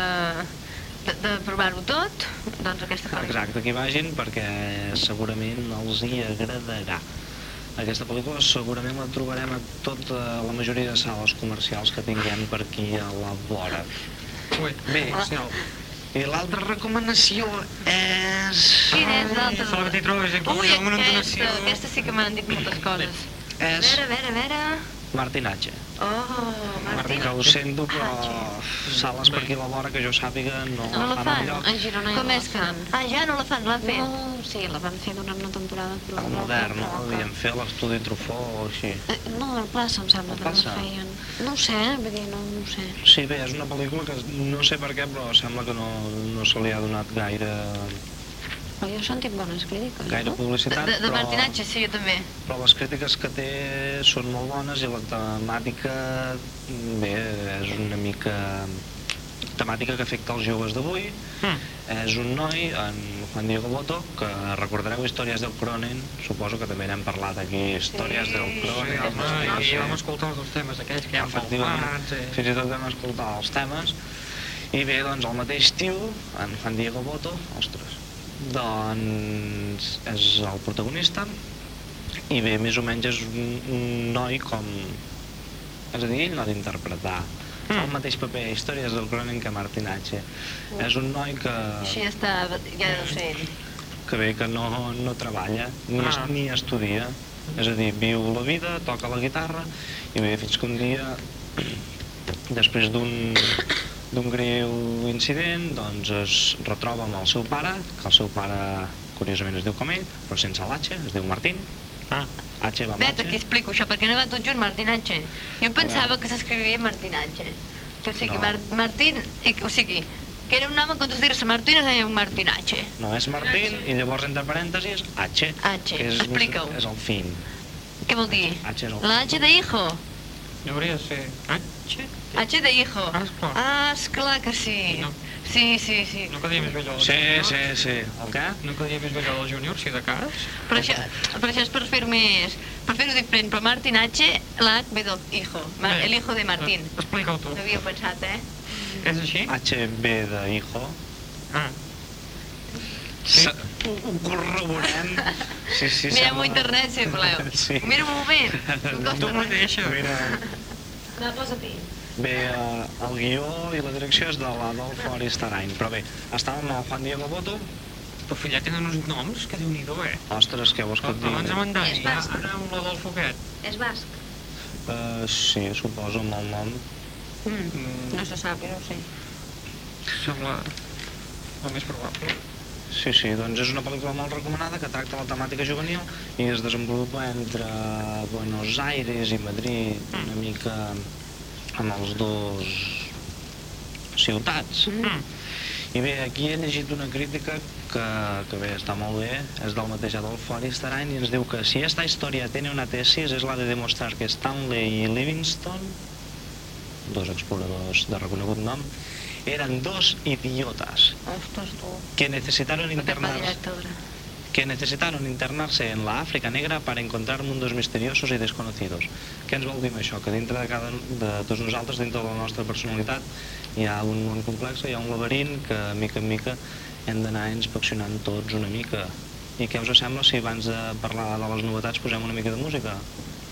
S7: de, de provar-ho tot, doncs aquesta pel·lícula.
S6: Exacte, que hi vagin perquè segurament els hi agradarà. Aquesta pel·lícula segurament la trobarem a tota la majoria de sales comercials que tinguem per aquí a la vora.
S8: Ui,
S6: Bé, senyor, i l'altra recomanació és...
S7: Quina és l'altra?
S8: Se la que t'hi trobes aquí,
S7: Ui,
S8: amb una
S7: aquesta,
S8: entonació.
S7: aquesta sí que m'han dit moltes coses. A
S6: És
S7: veure, a veure, a veure...
S6: Martinatge.
S7: Oh, Martín.
S6: Que ho sento, però
S7: Ah,
S6: sales per aquí a la vora que jo sàpiga no,
S9: No la fan,
S6: enlloc.
S9: a Girona ja
S7: Com
S9: no
S7: és que...
S9: la fan.
S7: Ah, ja no la fan, l'han fet.
S9: No, sí, la van fer durant una temporada. Però
S6: El modern, no? Podríem fer l'estudi trufó o així.
S9: Eh, No, al plaça em sembla
S6: Al
S9: que no la
S6: Plaça?
S9: feien. No ho sé, eh, vull dir, no, no ho sé.
S6: Sí, bé, és una pel·lícula que no sé per què, però sembla que no, no se li ha donat gaire,
S9: Però jo he sentit bones crítiques.
S6: gaire
S9: no?
S7: De,
S6: publicitat,
S7: de, de
S6: però,
S7: Martinatge, sí, jo també.
S6: però les crítiques que té són molt bones i la temàtica, bé, és una mica temàtica que afecta els joves d'avui.
S8: Hmm.
S6: És un noi, en Juan Diego Boto, que recordareu Històries del Cronen, suposo que també n'hem parlat aquí, Històries del
S8: Sí,
S6: Cronen.
S8: home,
S6: no
S8: i
S6: sé.
S8: vam escoltar els dos temes aquells que eh, hi ha
S6: efectivament,
S8: faltat. Sí.
S6: fins i tot vam escoltar els temes, i bé, doncs el mateix tio, en Juan Diego Boto, ostres, doncs és el protagonista, i bé, més o menys és un, un noi com... És a dir, ell no ha d'interpretar. Mm. El mateix paper, històries del Cronin que Martin Hatche. És un noi que
S7: Així ja està, ja ho sé ell.
S6: que bé que no, no treballa ni,
S8: Ah.
S6: es, ni estudia. És a dir, viu la vida, toca la guitarra i bé, fins que un dia, [CLEARS THROAT] després d'un d'un greu incident, doncs es retroba amb el seu pare, que el seu pare, curiosament, es diu com ell, però sense l'H, es diu Martín. Ah. H va amb
S7: Bet, aquí
S6: H.
S7: explico això, perquè no va tot junt Martinatge. Jo em pensava que s'escrivia Martinatge. Que, o sigui,
S6: No.
S7: no. Mar Martín, i, que- o sigui, que era un home, quan tu digues Martín, es deia Martinatge.
S6: No, és Martín i llavors entre parèntesis H.
S7: H,
S6: que és,
S7: explica-ho.
S6: És el fill.
S7: Què vol dir?
S6: H és el
S7: La H de hijo.
S8: Hi hauria de ser... Atxe?
S7: H de hijo.
S8: Ah, esclar.
S7: Ah, esclar que sí.
S8: No.
S7: Sí, sí, sí.
S8: No quedaria més vell el
S6: Sí,
S8: júnior?
S6: sí, sí. El què?
S8: No quedaria més vell el júnior, si de cas?
S7: Però això, però això és per fer-ho més... Per fer-ho diferent, però Martin H, la H ve del hijo. Ma-
S8: Bé,
S7: el hijo de Martín.
S8: eh, Explica-ho tu.
S7: No havia pensat, eh?
S8: És així?
S6: H ve de hijo.
S8: Ah.
S6: Sí. Ho, ho corroborem. Sí, sí,
S7: Mireu-ho
S6: sembla-
S7: a internet, si voleu.
S6: Sí.
S7: Mireu-ho bé. Tu
S8: Tu mateixa.
S6: Mira,
S7: No, posa-t'hi.
S6: bé, eh, el guió i la direcció és de l'Adolfo Aristarain, però bé, estàvem amb el Juan Diego Boto.
S8: Però fillat tenen uns noms que déu nhi eh?
S6: Ostres, què vols que et
S8: Abans amb
S6: digui?
S8: en Dani, ara amb la del foguet.
S9: És basc.
S6: Uh, sí, suposo, amb el nom.
S8: Mm,
S9: No se sap, jo no ho sé.
S8: sembla el més probable.
S6: Sí, sí, doncs és una pel·lícula molt recomanada que tracta la temàtica juvenil i es desenvolupa entre Buenos Aires i Madrid, una mica amb els dos ciutats.
S8: Mm.
S6: I bé, aquí he llegit una crítica que, que bé, està molt bé, és del mateix Adolfo Aristarain i ens diu que si esta història tiene una tesis és la de demostrar que Stanley i Livingston, dos exploradors de reconegut nom, eren dos idiotas
S7: Ostres, tu.
S6: que necesitaron
S7: La tepa
S6: internarse,
S7: directora.
S6: que necesitaron internarse en la África negra para encontrar mundos misteriosos i desconocidos. Què ens vol dir amb això? Que dintre de, cada, de tots nosaltres, dintre de la nostra personalitat, hi ha un món complex, hi ha un laberint que, de mica en mica, hem d'anar inspeccionant tots una mica. I què us sembla si abans de parlar de les novetats posem una mica de música?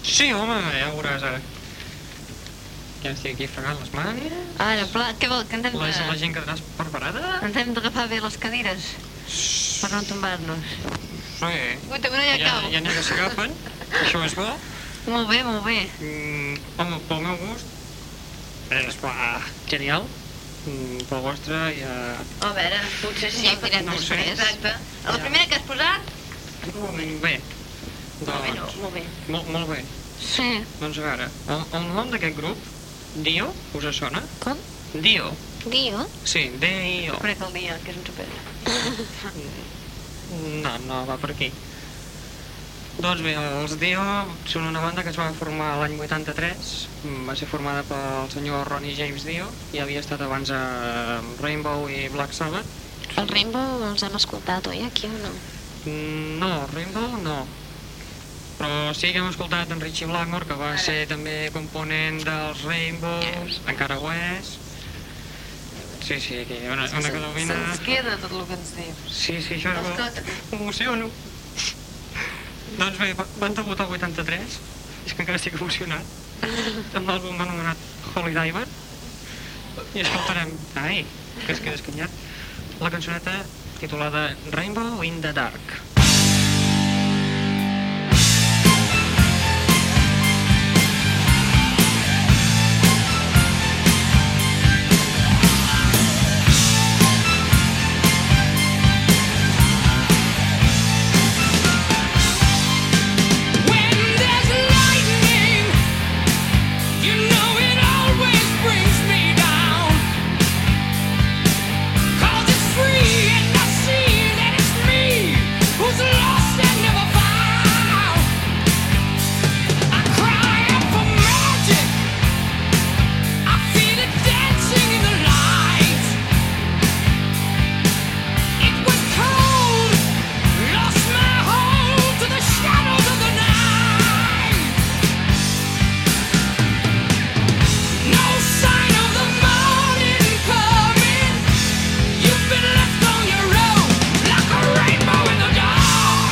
S8: Sí, home, ja ho veuràs ara. Ja estic aquí fregant les mans.
S7: Ara, pla, què vol? Que ens hem
S8: La, la
S7: de...
S8: gent quedarà preparada?
S7: Ens hem d'agafar bé les cadires per no tombar-nos.
S8: Sí.
S7: Guita, que no hi ha
S8: Ja,
S7: cau.
S8: ja n'hi ha que s'agafen. Això és bo.
S7: Molt bé, molt bé.
S8: Mm, home, pel meu gust, eh, és va, genial. Mm, pel vostre ja...
S7: A veure, potser si
S8: No,
S7: ja ho direm
S8: no ho sé.
S7: després. Exacte. La
S8: Ja.
S7: primera que has posat,
S8: Mm, Bé,
S7: molt bé, no,
S8: doncs,
S7: molt bé.
S8: molt, molt bé.
S9: Sí,
S8: Doncs a veure, el, el nom d'aquest grup Dio, us sona?
S4: Com?
S8: Dio.
S4: Dio?
S8: Sí, D-I-O.
S7: Crec el dia, que és un xupet.
S8: Mm. No, no, va per aquí. Doncs bé, els Dio són una banda que es va formar l'any 83, mm, va ser formada pel senyor Ronnie James Dio, i havia estat abans a Rainbow i Black Sabbath.
S4: El Rainbow els hem escoltat, oi, aquí o no?
S8: Mm, No, Rainbow no. Però sí que hem escoltat en Richie Blackmore, que va ser també component dels Rainbows, encara ho és. Sí, sí, aquí, una, una cadovina...
S11: Se'ns queda tot el que ens dius.
S8: Sí, sí, això és bo. Emociono. doncs bé, va- van debutar el 83. És que encara estic emocionat. Amb l'àlbum anomenat Holy Diver. I escoltarem... Ai, que es queda escanyat. La cançoneta titulada Rainbow in the Dark.
S11: Cold Lost my hold to the shadows of the night. No sign of the morning coming. You've been left on your own like a rainbow in the dark.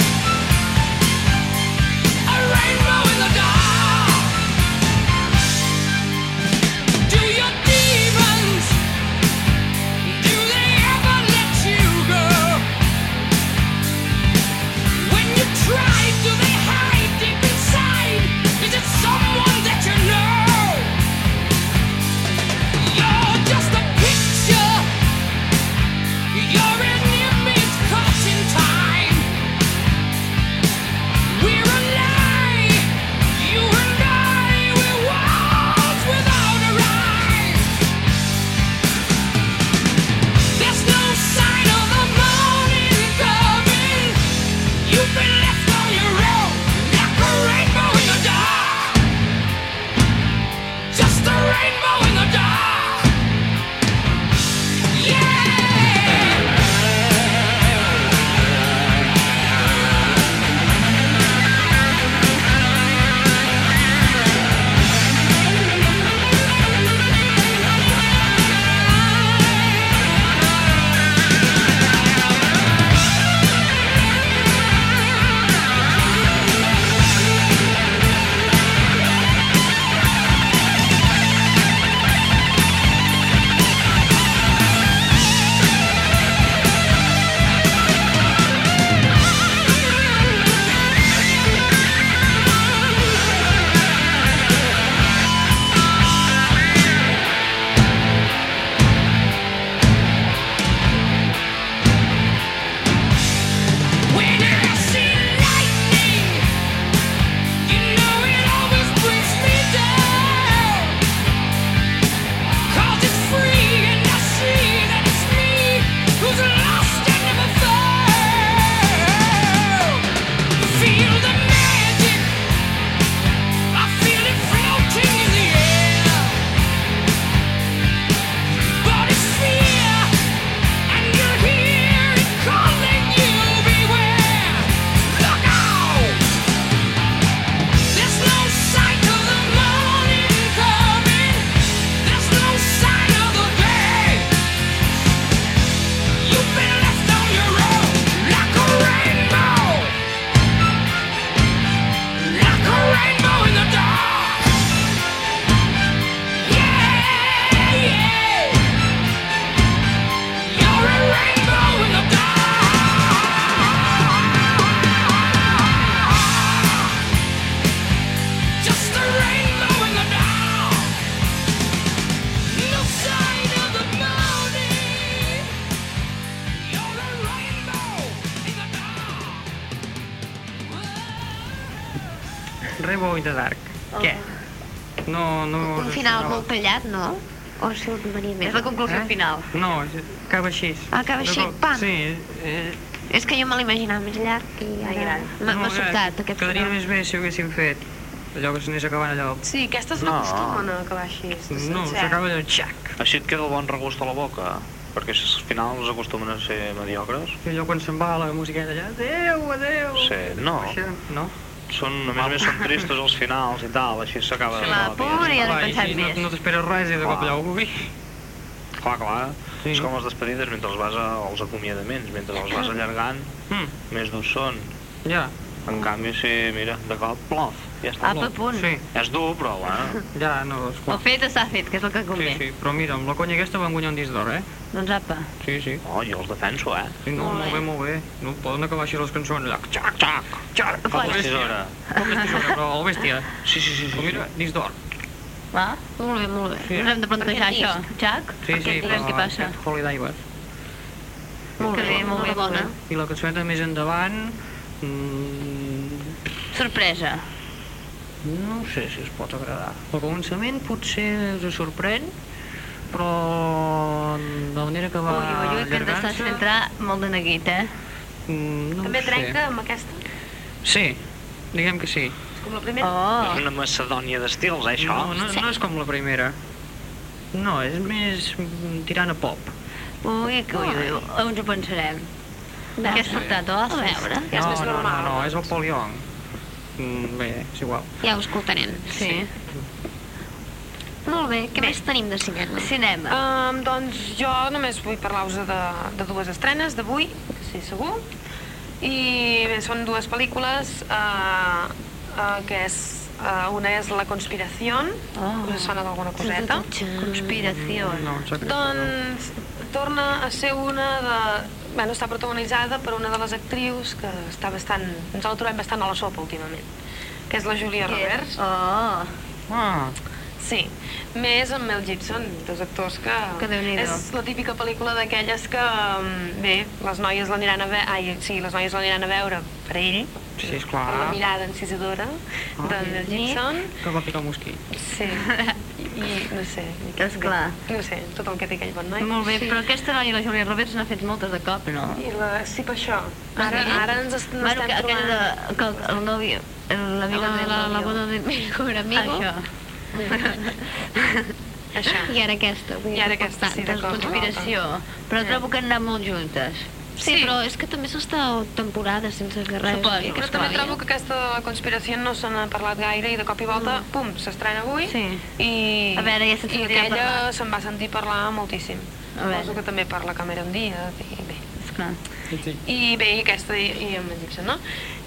S11: A rainbow in the dark. Do your demons? Do they ever let you go? When you try, do they hide deep inside? Is it someone that you know? You're just a picture. You're an image caught in time. We're a lie. You and I, we're walls without a rhyme. There's no sign of the morning coming. You've been left on your own, like a rainbow in the dark. Just a rainbow in the dark. Yeah. When I see lightning, you know it always brings me down. 'Cause it's free and I see that it's me who's lost and never found. Feel the magic, I feel it floating in the air. But it's fear. And you'll hear it calling you beware. Look out! There's no sight of the morning coming. There's no sign of the day. You've been left on your own like a rainbow, like a rainbow in the dark. Yeah, yeah. You're a rainbow in the dark. Just a rainbow in the dark. No sign of the morning. You're a rainbow in the dark.
S8: Rainbow in the Dark. Què? No, no...
S4: Oh. Un
S8: us
S4: final
S8: sonava.
S4: molt tallat, no? O surt Maria
S7: És la conclusió
S8: Eh?
S7: final.
S8: No, acaba així.
S4: Ah, Acaba així,
S8: De cop.
S4: pam.
S8: Sí, eh,
S4: És que jo me l'imaginava més llarg i ara
S7: gran.
S4: m'ha
S8: no,
S4: m'ha
S8: eh,
S4: sobtat aquest
S8: Quedaria
S4: final.
S8: més bé si ho haguéssim fet. Allò que s'anés acabant allò...
S9: Sí, aquestes no,
S1: No.
S9: acostumen a acabar així. sencer.
S8: No, s'acaba allò... Xac!
S1: Així et queda el bon regust a la boca, perquè si al final els acostumen a ser mediocres.
S8: I allò quan se'n va la musiqueta allà... Adéu, adéu!
S1: Sí, no.
S8: Baixa, No?
S1: Són, només més són tristes els finals i tal, així s'acaba.
S7: La
S1: ràpid.
S7: pobra ja l'he
S8: Va, i
S7: pensat
S8: així
S7: més.
S8: No, no t'esperes res i de cop allò... Ui!
S1: Clar, clar.
S8: Sí.
S1: És com les despedides mentre els vas a, als acomiadaments, mentre els vas allargant,
S8: Mm,
S1: més durs són.
S8: ja.
S1: En canvi, si, mira, de cop, plof, ja està.
S7: Apa, punt.
S8: Sí,
S1: És dur, però, bueno,
S8: ja, no, esclar.
S7: El fet s'ha fet, que és el que
S8: Sí,
S7: convé.
S8: sí, però mira, amb la conya aquesta van guanyar un disc d'or, eh?
S7: Doncs apa.
S8: Sí, sí.
S1: oh, jo els defenso, eh?
S8: Sí, no, molt bé, molt bé. No poden acabar així les cançons allà. Xac, xac, xac.
S1: Com estis hora?
S8: Com vestis ara, però el bèstia.
S1: Sí, sí, sí.
S8: Però
S1: sí.
S8: mira, disc d'or.
S7: Va?
S4: Molt bé, molt bé.
S8: Sí.
S7: Ens hem de plantejar això. Xac?
S8: Sí, sí,
S7: Aquest veurem què passa.
S8: aquest Holy Diver.
S4: Molt
S7: Que
S4: bé,
S7: bé, molt bé, molt bé.
S8: I la cançoneta més endavant... mm,
S7: Sorpresa.
S8: No sé si es pot agradar. Al començament potser us sorprèn, però de la manera que va
S7: Ui, ui, ui, que ens estàs
S8: allargant-se,
S7: fent entrar molt de neguit, eh?
S8: mm, no
S9: També
S8: ho sé.
S9: trenca amb aquesta.
S8: Sí, diguem que sí.
S9: És com la primera.
S7: Oh,
S1: És una macedònia d'estils, eh, això?
S8: No, no, no és com la primera. No, és més mm, tirant a pop.
S7: ui, que ui, ui, on ho pensarem? Què has portat, oh?
S4: A
S7: os?
S4: veure,
S9: Ja és més
S8: no, no,
S9: normal.
S8: no, és el Paul Young. Mm, bé, és igual.
S4: ja ho escoltarem.
S7: Sí.
S4: Molt bé, què més tenim de cinema?
S7: Cinema.
S9: Um, doncs jo només vull parlar-vos de, de dues estrenes d'avui, que sí, segur. I bé, són dues pel·lícules, uh, uh, que és, uh, una és La Conspiración,
S7: Oh.
S9: us sona d'alguna coseta?
S7: Conspiració.
S8: No, em sap greu,
S9: Doncs torna a ser una de... Bueno, està protagonitzada per una de les actrius que està bastant... Ens la trobem bastant a la sopa últimament, que és la Julia Roberts.
S7: Oh,
S8: no. Ah,
S9: Sí, més amb Mel Gibson, dos actors que...
S7: Que Déu-n'hi-do.
S9: És la típica pel·lícula d'aquelles que, mm, bé, les noies l'aniran a veure... Ai, sí, les noies l'aniran a veure per ell,
S8: sí,
S9: per la
S8: esclar.
S9: mirada encisadora
S8: Ah.
S9: de Mel Gibson.
S8: Que va picar un mosquit.
S7: [LAUGHS]
S9: Sí, i no sé...
S7: Esclar.
S9: No sé, tot el que té aquell bon noi.
S7: molt bé, però aquesta noia, la Julia Roberts, n'ha fet moltes de cop, no?
S9: I la... Sí, per això. Ara,
S7: Ah, sí?
S9: ara ens est-
S7: Bueno,
S9: n'estem
S7: que aquella
S9: trobant...
S7: de... Que el- el nòvio... L'amiga
S4: La,
S7: del
S4: la, la
S7: nòvio.
S4: boda de mi mejor amigo.
S7: Això.
S9: Això.
S4: I ara aquesta. vull
S9: I ara
S4: dir,
S9: aquesta, sí,
S4: tantes
S9: d'acord.
S4: conspiracions.
S7: Conspiració. Però trobo que han anat molt juntes.
S4: Sí, però és que també s'està temporada sense fer res.
S7: Suposo.
S4: eh, que
S9: Però
S4: es
S9: també
S4: pagui.
S9: trobo que aquesta de la conspiració no se n'ha parlat gaire i de cop i volta, pum, s'estrena avui
S7: Mm. Sí.
S9: i,
S7: A veure, ja se'n
S9: i
S7: sentirà
S9: aquella
S7: parlar.
S9: se'n va sentir parlar moltíssim.
S7: A veure.
S9: Suposo que també parla Cameron Diaz i bé.
S7: Esclar.
S9: I bé, i aquesta i, i amb en Gibson, no?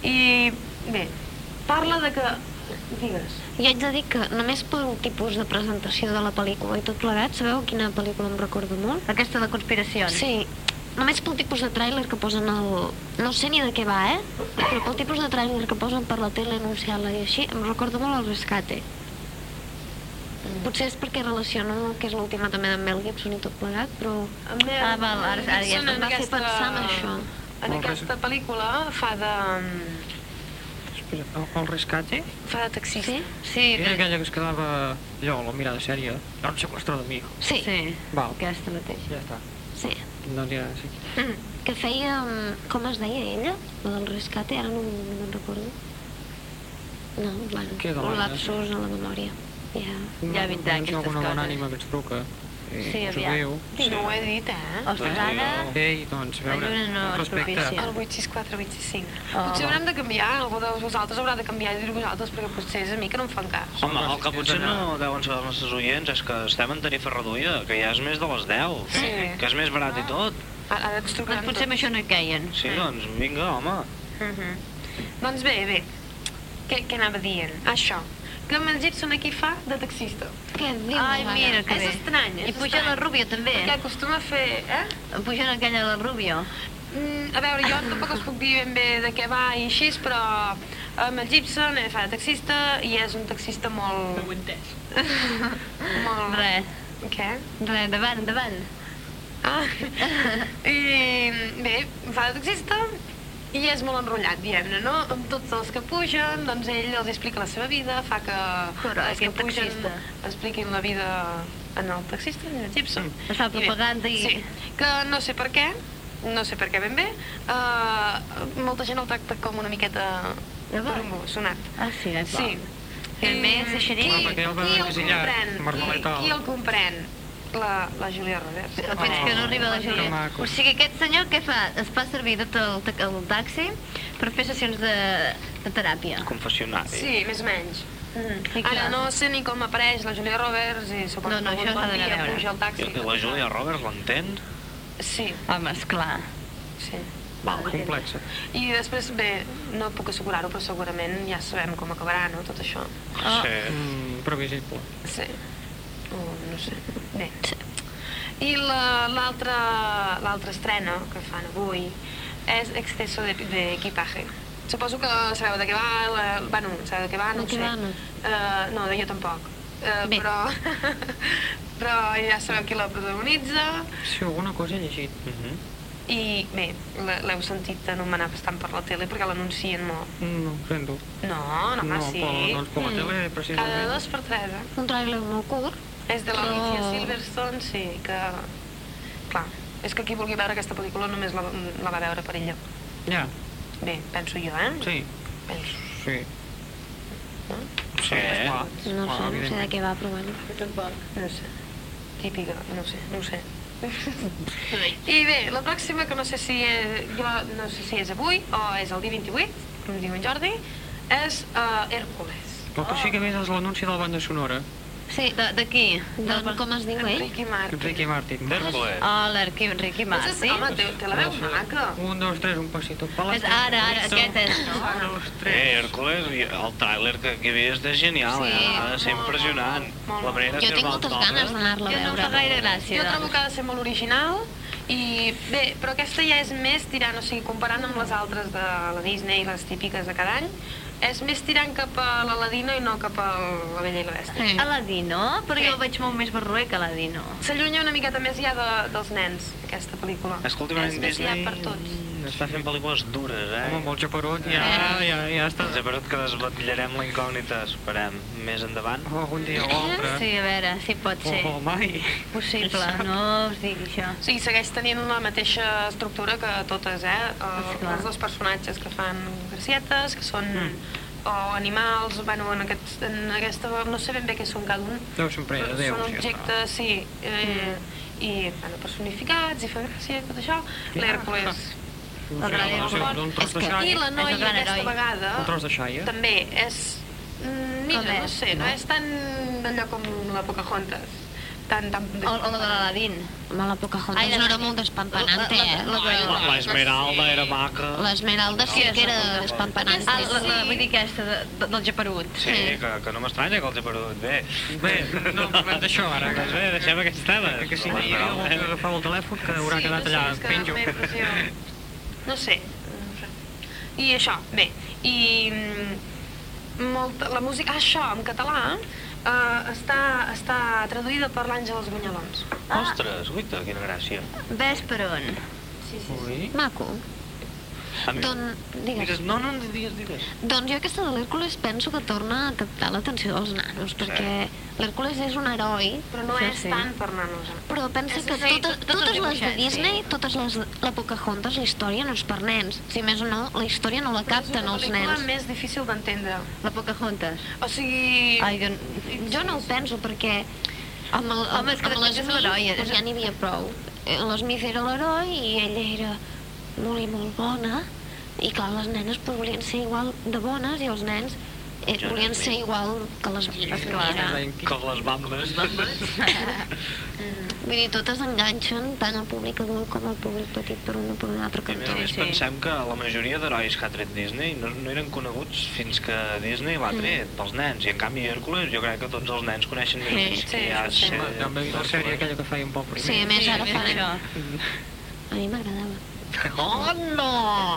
S9: I bé, parla de que... Digues.
S4: I haig de dir que només pel tipus de presentació de la pel·lícula i tot plegat, sabeu quina pel·lícula em recorda molt?
S7: Aquesta de conspiracions.
S4: Sí, només pel tipus de tràiler que posen al... No sé ni de què va, eh? Però pel tipus de tràiler que posen per la tele anunciant-la i així, em recorda molt el rescate.
S7: Mm.
S4: Potser és perquè relaciono que és l'última també d'en Mel Gibson i tot plegat, però...
S7: Ah, val, ara- ara ja
S9: Gibson
S7: em
S4: va fer pensar en això.
S9: En
S8: Molt bé.
S9: aquesta pel·lícula fa de... mm,
S8: Espera, el, el rescate?
S9: fa de taxista.
S4: Sí?
S7: Sí,
S8: Era aquella que es quedava allò, la mirada sèria. No em sequestró de mi.
S4: Sí, sí.
S7: Sí,
S8: Val.
S7: aquesta mateixa.
S8: Ja està.
S4: sí.
S8: Doncs ja, sí.
S4: Que feia... mm, Com es deia ella? La del rescate? Ara no, no me'n recordo. No, bueno,
S8: Què de
S4: un
S8: l'Anna?
S4: lapsus a la memòria. Ja.
S7: Ja vindrà
S8: Coneixo
S7: aquestes
S8: alguna bona
S7: coses.
S8: ànima que ens truca. Eh, I
S7: Sí,
S8: ens ho
S7: aviat.
S8: diu.
S9: No ho he dit, eh?
S7: Ostres, ara...
S8: Ei, doncs, a veure,
S7: La lluna no és propícia.
S9: El 864, 865.
S7: Ah,
S9: potser
S7: va.
S9: haurem de canviar, algú de vosaltres haurà de canviar i dir vosaltres, perquè potser és a mi que no em fan cas.
S1: Home, el que potser no deuen saber els nostres oients és que estem en tarifa reduïda, que ja és més de les 10,
S9: Sí.
S1: que és més barat i tot.
S9: Ara, ara ens trucaran
S7: Doncs potser amb
S9: tots.
S7: això no hi caien.
S1: Sí, doncs, vinga, home.
S9: Mhm. Doncs bé, bé, què, què anava dient? Això, que amb el Gibson aquí fa de taxista.
S4: Què dius?
S7: Ai,
S4: ara?
S7: mira que
S9: és
S7: bé.
S9: estrany, és
S7: I puja
S9: estrany.
S7: la Rubio, també.
S9: Perquè acostuma a fer, eh?
S7: Puja aquella la Rubio.
S9: Mm, a veure, jo tampoc us puc dir ben bé de què va i així, però amb el Gibson eh, fa de taxista i és un taxista molt... No ho he entès. [LAUGHS] molt...
S7: Res,
S9: Què?
S7: res, endavant,
S9: [LAUGHS]
S7: endavant.
S9: eh, Ah, i bé, fa de taxista I és molt enrotllat, diguem-ne, no? Amb tots els que pugen, doncs ell els explica la seva vida, fa que
S7: Però és
S9: els que
S7: que
S9: pugen
S7: taxista.
S9: expliquin la vida en el taxista, en el Gibson.
S7: Mm, es fa
S9: I bé,
S7: propaganda i-
S9: Sí, que no sé per què, no sé per què ben bé, uh, molta gent el tracta com una miqueta
S7: De bo.
S9: sonat.
S7: Ah, sí, és bo.
S9: Sí.
S7: Ben bé, és així.
S9: Qui,
S7: Clar,
S9: qui
S7: perquè
S9: el
S7: el van
S8: encasillar,
S9: comprèn? Qui,
S8: Margaleta.
S9: qui el comprèn? La, la Júlia Revers.
S7: Però fins que no arriba la Júlia. O sigui, aquest senyor què fa? Es fa servir tot el, ta- el taxi per fer sessions de, de teràpia.
S1: Confessionari.
S9: Sí, més o menys.
S7: Mm. I clar.
S9: Ara no sé ni com apareix la Julia Roberts i suposo
S7: No, no,
S9: que
S7: això
S9: algun
S7: s'ha
S9: bon
S7: d'anar a
S9: dia
S7: veure.
S9: puja al taxi.
S1: I la Julia Roberts l'entén?
S9: Sí,
S7: Home, esclar.
S9: sí.
S1: Val,
S8: Complexa.
S9: I després, bé, no puc assegurar-ho, però segurament ja sabem com acabarà, no?, tot això.
S7: Ah.
S1: Sí.
S8: Mm, previsible.
S9: Sí. O no sé. Bé. I la- l'altra l'altra estrena que fan avui és Exceso de, de equipaje. Suposo que sabeu de què va, la, bueno, sabeu de què va, no
S4: De
S9: ho
S4: què
S9: sé.
S4: va, no.
S9: Eh, no, de jo tampoc. Eh,
S4: Bé.
S9: però, [LAUGHS] però ja sabeu qui la protagonitza
S8: Si alguna cosa he llegit.
S9: i bé, l- l'heu sentit anomenar bastant per la tele perquè l'anuncien molt.
S8: mm, No, ho sento.
S9: No, no, home,
S8: no,
S9: sí.
S8: per, doncs per la
S7: Mm.
S8: tele, precisament.
S9: Cada dos per tres, eh?
S4: Un trailer molt curt.
S9: És de l'Alicia
S4: Però-
S9: Silverstone, sí, que... Clar, és que qui vulgui veure aquesta pel·lícula només la, la va veure per ella.
S8: Ja,
S9: Bé, penso jo, eh?
S8: sí,
S9: Penso.
S8: sí.
S1: Sí, eh?
S8: Clar,
S4: No sé, no
S8: clar,
S4: sé de
S8: evidentment.
S4: què va, però bueno.
S9: No sé. Típica, no ho sé, no ho sé. I bé, la pròxima, que no sé si és, jo no sé si és avui o és el dia 28, com diu en Jordi, és uh, Hèrcules.
S8: El que sí que he vist és l'anunci de la banda sonora.
S7: Sí, de- d'aquí.
S4: Doncs com es diu ell?
S9: Ricky Martin.
S8: Ricky Martin.
S1: D'Hèrcules.
S7: Hola, Ricky, Ricky
S9: Doncs,
S7: Martin.
S9: Home, té, té la veu maca.
S8: Un, dos, tres, un passito. Pa la
S7: És ara, ara, aquest és, no?
S8: Un, dos,
S1: Eh,
S8: tres.
S1: Hércules, i el tràiler que, que he vist és genial,
S7: Sí,
S1: eh? Ha de ser
S9: molt,
S1: impressionant.
S9: molt, molt,
S1: La manera
S4: Jo tinc moltes ganes d'anar-la
S7: Jo
S4: a
S7: no em
S4: veure.
S7: fa gaire gràcia.
S9: Jo trobo que ha de ser molt original i bé, però aquesta ja és més tirant, o sigui, comparant amb les altres de la Disney, les típiques de cada any, és més tirant cap a l'Aladino i no cap a la Bella i la Bèstia.
S4: Sí.
S7: Aladino, però jo el veig molt més barroer que Aladino.
S9: S'allunya una miqueta més ja de, dels nens, aquesta pel·lícula.
S1: Escolta,
S9: és més ja
S1: Disney
S9: per tots. Eh?
S1: està fent pel·lícules dures, eh?
S8: Home, amb el japerot ja,
S7: Eh?
S8: ja, ja està.
S1: Ens ha parat que desvetllarem la incògnita, esperem, més endavant.
S8: O algun dia o altre.
S7: Sí, a veure, si pot
S8: O,
S7: ser.
S8: o mai.
S7: Possible, no us digui això.
S9: O sigui, segueix tenint la mateixa estructura que totes, eh?
S7: Sí,
S9: Eh,
S7: clar.
S9: els dos personatges que fan gracietes, que són
S7: Mm.
S9: o animals, bueno, en, aquest, en aquesta... no sé ben bé què són cada un,
S8: Deu ser un parell de déus.
S9: Són
S8: ja
S9: objectes, sí, eh, i bueno, personificats, i fa gràcia, tot això. L'Hèrcules.
S8: està.
S7: El gran
S8: No sé,
S9: heroi.
S8: Un tros de
S4: És que-
S9: I
S8: xai.
S9: la noia
S7: És el gran
S9: aquesta
S7: heroi.
S9: vegada
S8: Un tros de xai, eh?
S9: també és... mm, Mira,
S7: Com
S9: no
S7: és,
S9: sé, no,
S7: no?
S9: és tan allò com la Pocahontas. Tan, tan...
S7: O, o la de l'Aladin.
S4: Home, la Pocahontas no era molt despampanante, eh?
S1: L'esmeralda era maca.
S4: L'esmeralda sí que era despampanante.
S7: Ah, la, la, vull dir aquesta, de, de, del japerut.
S1: Sí, que, que no m'estranya que els he perdut bé.
S8: Bé, no parlem d'això ara.
S1: Doncs bé, deixem aquests temes.
S8: Que si no hi havia algú que agafava el telèfon que haurà quedat allà,
S9: no sé, és que
S8: penjo.
S9: em fa impressió. No sé. I això, bé, i mm, molta, la música, ah, això, en català, eh, està, està traduïda per l'Àngels Bunyalons.
S1: Ostres, guita, quina gràcia.
S7: Ves per on?
S9: Sí, sí, sí.
S8: Ui.
S4: Maco.
S1: A mi-
S4: Doncs, digues.
S1: Digues, no, no, digues, digues.
S4: Doncs jo aquesta de l'Hèrcules penso que torna a captar l'atenció dels nanos, perquè l'Hèrcules és un heroi,
S9: Però no
S7: Això
S9: és
S7: sí.
S9: tant per nanos. eh?
S4: però pensa
S7: És
S4: que
S7: a dir,
S4: totes,
S7: tot-
S4: totes
S7: tot el
S4: les de
S7: dibuixet,
S4: Disney, totes les de la Pocahontas, la història no és per nens. Si més o no, la història no la capten els
S9: És una
S4: nens.
S9: pel·lícula més difícil d'entendre.
S7: La Pocahontas.
S9: O sigui...
S7: Ai, jo...
S4: Jo no ho penso perquè amb, el, amb,
S7: Home, és que
S4: amb
S7: de fet és l'heroi,
S4: doncs
S7: és-
S4: ja n'hi havia prou. Eh, L'Smith era l'heroi i ella era molt i molt bona i clar, les nenes pues, volien ser igual de bones i els nens eh,
S1: Jo
S4: volien
S1: també.
S4: ser igual que les nenes.
S7: Esclar,
S4: Mira.
S1: Com les bambes.
S4: Vull dir, totes enganxen tant el públic adult com el públic petit per una per una altra
S1: I a més a
S4: cantó.
S1: més
S7: Sí.
S1: pensem que la majoria d'herois que ha tret Disney no, no eren coneguts fins que Disney l'ha tret, pels nens. I en canvi Hércules jo crec que tots els nens coneixen més
S4: Sí,
S1: sí,
S9: sí,
S1: que ja
S9: això sí.
S1: sé-
S8: Home, també la sèrie aquella que feia un poc primer.
S4: Sí, a més ara fan...
S7: això.
S4: A mi m'agradava.
S1: Oh, no!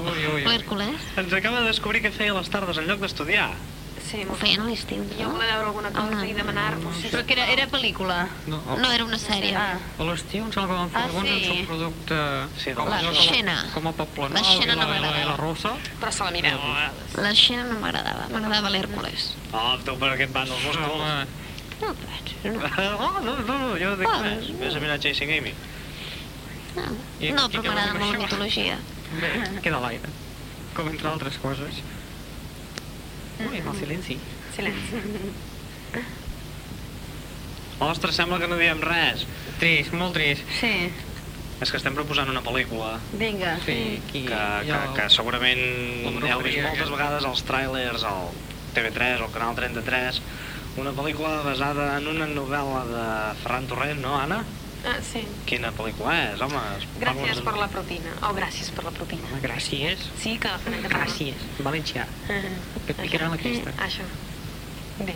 S8: Ui, ui, ui.
S4: L'Hércules?
S1: Ens acaba de descobrir que feia les tardes en lloc d'estudiar.
S9: Sí, Sí,
S4: Ho feien a l'estiu, no?
S9: Jo volia veure alguna cosa i demanar... Pues, sí,
S7: Ah. Però que era, era pel·lícula.
S8: No,
S4: No, era una sèrie.
S7: Ah.
S8: A l'estiu em sembla que van fer
S7: Ah,
S8: alguna
S7: sí.
S8: un producte...
S1: Sí,
S8: com,
S4: la
S8: allò de
S4: Xena.
S8: Com a Poble
S4: La Xena no
S8: i la, i
S4: m'agrada.
S8: la Rosa.
S9: Però se la mireu. eh.
S4: La Xena no m'agradava, m'agradava l'Hèrcules.
S1: Oh, tu per què et van els músculs? [LAUGHS] Oh,
S8: Home,
S4: No, però no.
S8: No, no, no, no, jo no dic
S4: Ah.
S8: res.
S1: Ves a mirar Chasing Amy.
S4: No, no però m'agrada molt la mitologia.
S8: Bé, queda a l'aire. Com entre altres coses. Ui, el silenci.
S9: Silenci.
S1: Ostres, sembla que no diem res.
S8: Trist, molt trist.
S7: Sí.
S1: És que estem proposant una pel·lícula
S7: Vinga.
S8: Sí, aquí,
S1: que, que,
S8: jo-
S1: que segurament
S8: Com
S1: heu vist
S8: rubrica,
S1: moltes
S8: que-
S1: vegades als trailers al TV3 o al Canal 33. Una pel·lícula basada en una novel·la de Ferran Torrent, no, Anna?
S9: Ah, sí.
S1: Quina pel·lícula és, home?
S9: Gràcies
S1: parla'ns-
S9: per la propina. Oh, gràcies per la propina.
S8: Home, gràcies.
S9: Sí, que la fan en català.
S8: Gràcies. Valencià.
S9: Ah,
S8: Que et picaran la cresta.
S9: Això. Bé.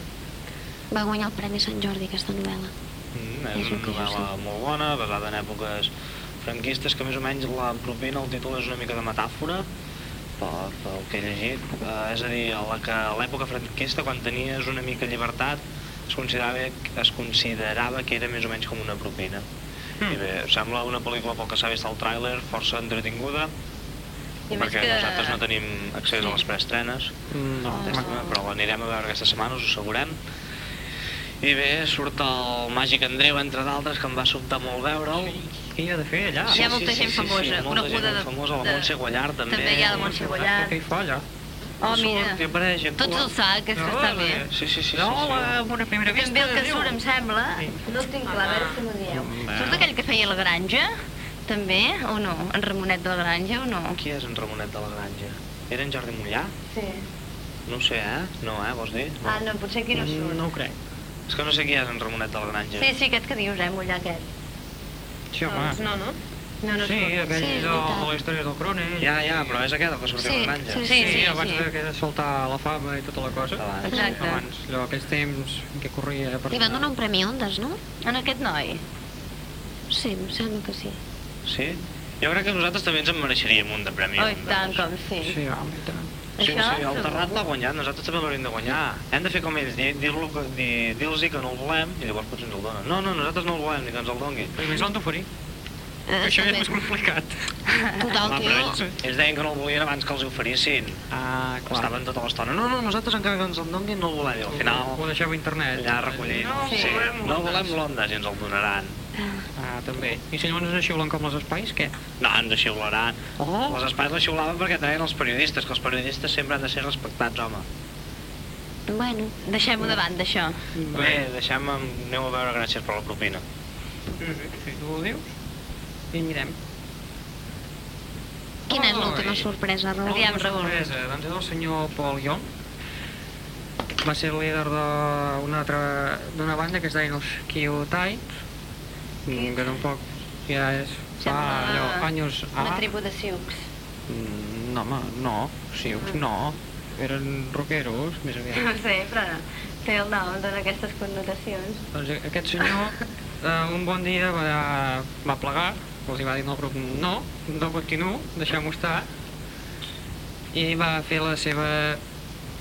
S4: Va guanyar el Premi Sant Jordi, aquesta novel·la.
S1: Mm,
S4: És
S1: és
S4: el
S1: una
S4: que jo
S1: novel·la
S4: sé.
S1: molt bona, basada en èpoques franquistes, que més o menys la propina, el títol és una mica de metàfora, pel, pel que he llegit. Eh, és a dir, a la que a l'època franquista, quan tenies una mica llibertat, es considerava, es considerava que era més o menys com una propina.
S7: Hmm.
S1: I bé, sembla una pel·lícula, pel que s'ha vist al tràiler, força entretinguda,
S7: I a més
S1: perquè
S7: que-
S1: nosaltres no tenim accés
S7: Sí. Ah.
S1: a les preestrenes,
S8: No.
S1: Llàstima, però l'anirem a veure aquesta setmana, us ho assegurem. I bé, surt el Màgic Andreu, entre d'altres, que em va sobtar molt veure'l.
S8: Què hi ha de fer allà?
S7: Hi ha molta gent famosa,
S1: molta
S7: coneguda
S1: gent
S7: de-
S1: famosa, la
S7: de-
S1: Montse Guallar, també.
S7: també hi ha la Montse Guallar.
S8: Què Ah, hi fa allà?
S7: Oh,
S1: Surt i
S7: mira.
S1: apareix. actua.
S7: Tots els sacs, que està bé.
S1: Sí, sí, sí. sí,
S8: No, eh. la,
S1: sí.
S8: una primera vista.
S7: També el que
S8: diu.
S7: surt, em sembla,
S8: Sí.
S7: no ho tinc clar, a veure si m'ho dieu. Surt aquell que feia la granja, també, o no? En Ramonet de la granja, o no?
S1: Qui és en Ramonet de la Granja? Era en Jordi Mollà?
S7: Sí.
S1: No ho sé, eh? No, eh? Vols dir?
S7: Ah, no, potser aquí no surt.
S8: Mm, No ho crec.
S1: És que no sé qui és en Ramonet de la Granja.
S7: Sí, sí, aquest que dius, eh, mullar aquest.
S8: Sí,
S9: Doncs
S8: home.
S9: no, no?
S7: No, no
S8: Sí,
S7: surt.
S8: aquell
S4: Sí, és
S8: de
S4: veritat.
S8: la història del Crone.
S1: Ja, ja, però és aquest el que sortia
S4: Sí,
S1: a la granja.
S4: sí,
S7: Sí, sí,
S8: abans
S7: sí.
S8: de que de soltar la fama i tota la cosa.
S1: Abans.
S7: Exacte.
S8: Abans, allò, aquells temps en què corria eh, per...
S4: Li van donar un premi Ondas, no?
S7: En aquest noi.
S4: Sí, em sembla que sí.
S1: Sí? Jo crec que nosaltres també ens en mereixeríem un de premi.
S7: Oh, i
S1: un de
S7: tant,
S1: dos.
S7: com sí.
S8: Sí, ah, home, i tant.
S1: Sí, sí,
S7: Això
S1: el
S7: segur.
S1: Terrat l'ha guanyat, nosaltres també l'hauríem de guanyar. Hem de fer com ells, dir- dir-lo que- dir- dir-los dir que no el volem i llavors potser ens el donen. No, no, nosaltres no el volem ni que ens el doni.
S8: Però més l'han d'oferir.
S4: Eh,
S8: Això ja és
S4: també.
S8: més complicat.
S4: Total,
S1: Ah, però ells,
S4: tio.
S1: ells deien que no el volien abans que els hi oferissin.
S8: Ah,
S1: Estaven tota l'estona, no, no, nosaltres encara que ens el donin no el volem. I al
S8: Ho
S1: final
S8: deixeu a internet.
S1: allà recollint.
S8: No,
S1: sí,
S8: volem
S1: no
S8: l'Ondas.
S1: volem l'onda si ens el donaran.
S8: Ah, també. I si llavors es xiulen com els espais, què?
S1: No, ens xiularan.
S8: Oh.
S1: Les espais les xiulaven perquè traien els periodistes, que els periodistes sempre han de ser respectats, home.
S4: Bueno,
S7: Deixem-ho de banda, això.
S1: Bé, deixem, aneu a veure gràcies per la propina.
S8: Sí, sí, sí, tu ho dius? I mirem.
S4: quina és l'última
S8: Oi.
S4: sorpresa, Raül?
S7: Aviam,
S8: Una
S7: Raül.
S8: sorpresa, Doncs és el senyor Paul Young. Va ser el líder de- d'una altra... d'una banda que es deien els Kyotai, mm, que tampoc ja és... fa
S7: Sembla
S8: allò, anys
S12: Ah.
S7: Una
S8: A.
S7: tribu de siucs.
S8: Mm, No, home, no. Sí,
S4: Mm.
S8: no. Eren rockeros, més
S7: [COUGHS]
S8: aviat.
S7: No sé, però té el nom, dona aquestes connotacions.
S8: Doncs a- aquest senyor, eh, un bon dia va, va plegar, els hi va dir al grup, no, no continuo, deixem-ho estar, i va fer la seva,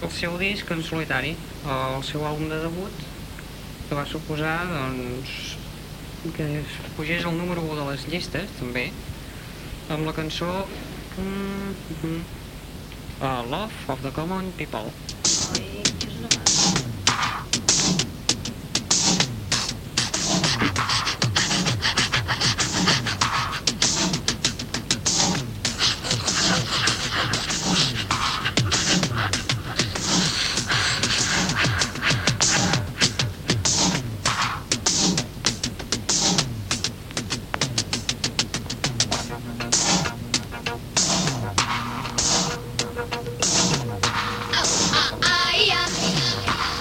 S8: el seu disc en solitari, el seu àlbum de debut, que va suposar, doncs, que es pugés al número 1 de les llistes, també, amb la cançó mm, mm, uh, Love of the Common People.
S7: Oi, que és una mare.
S11: Ai,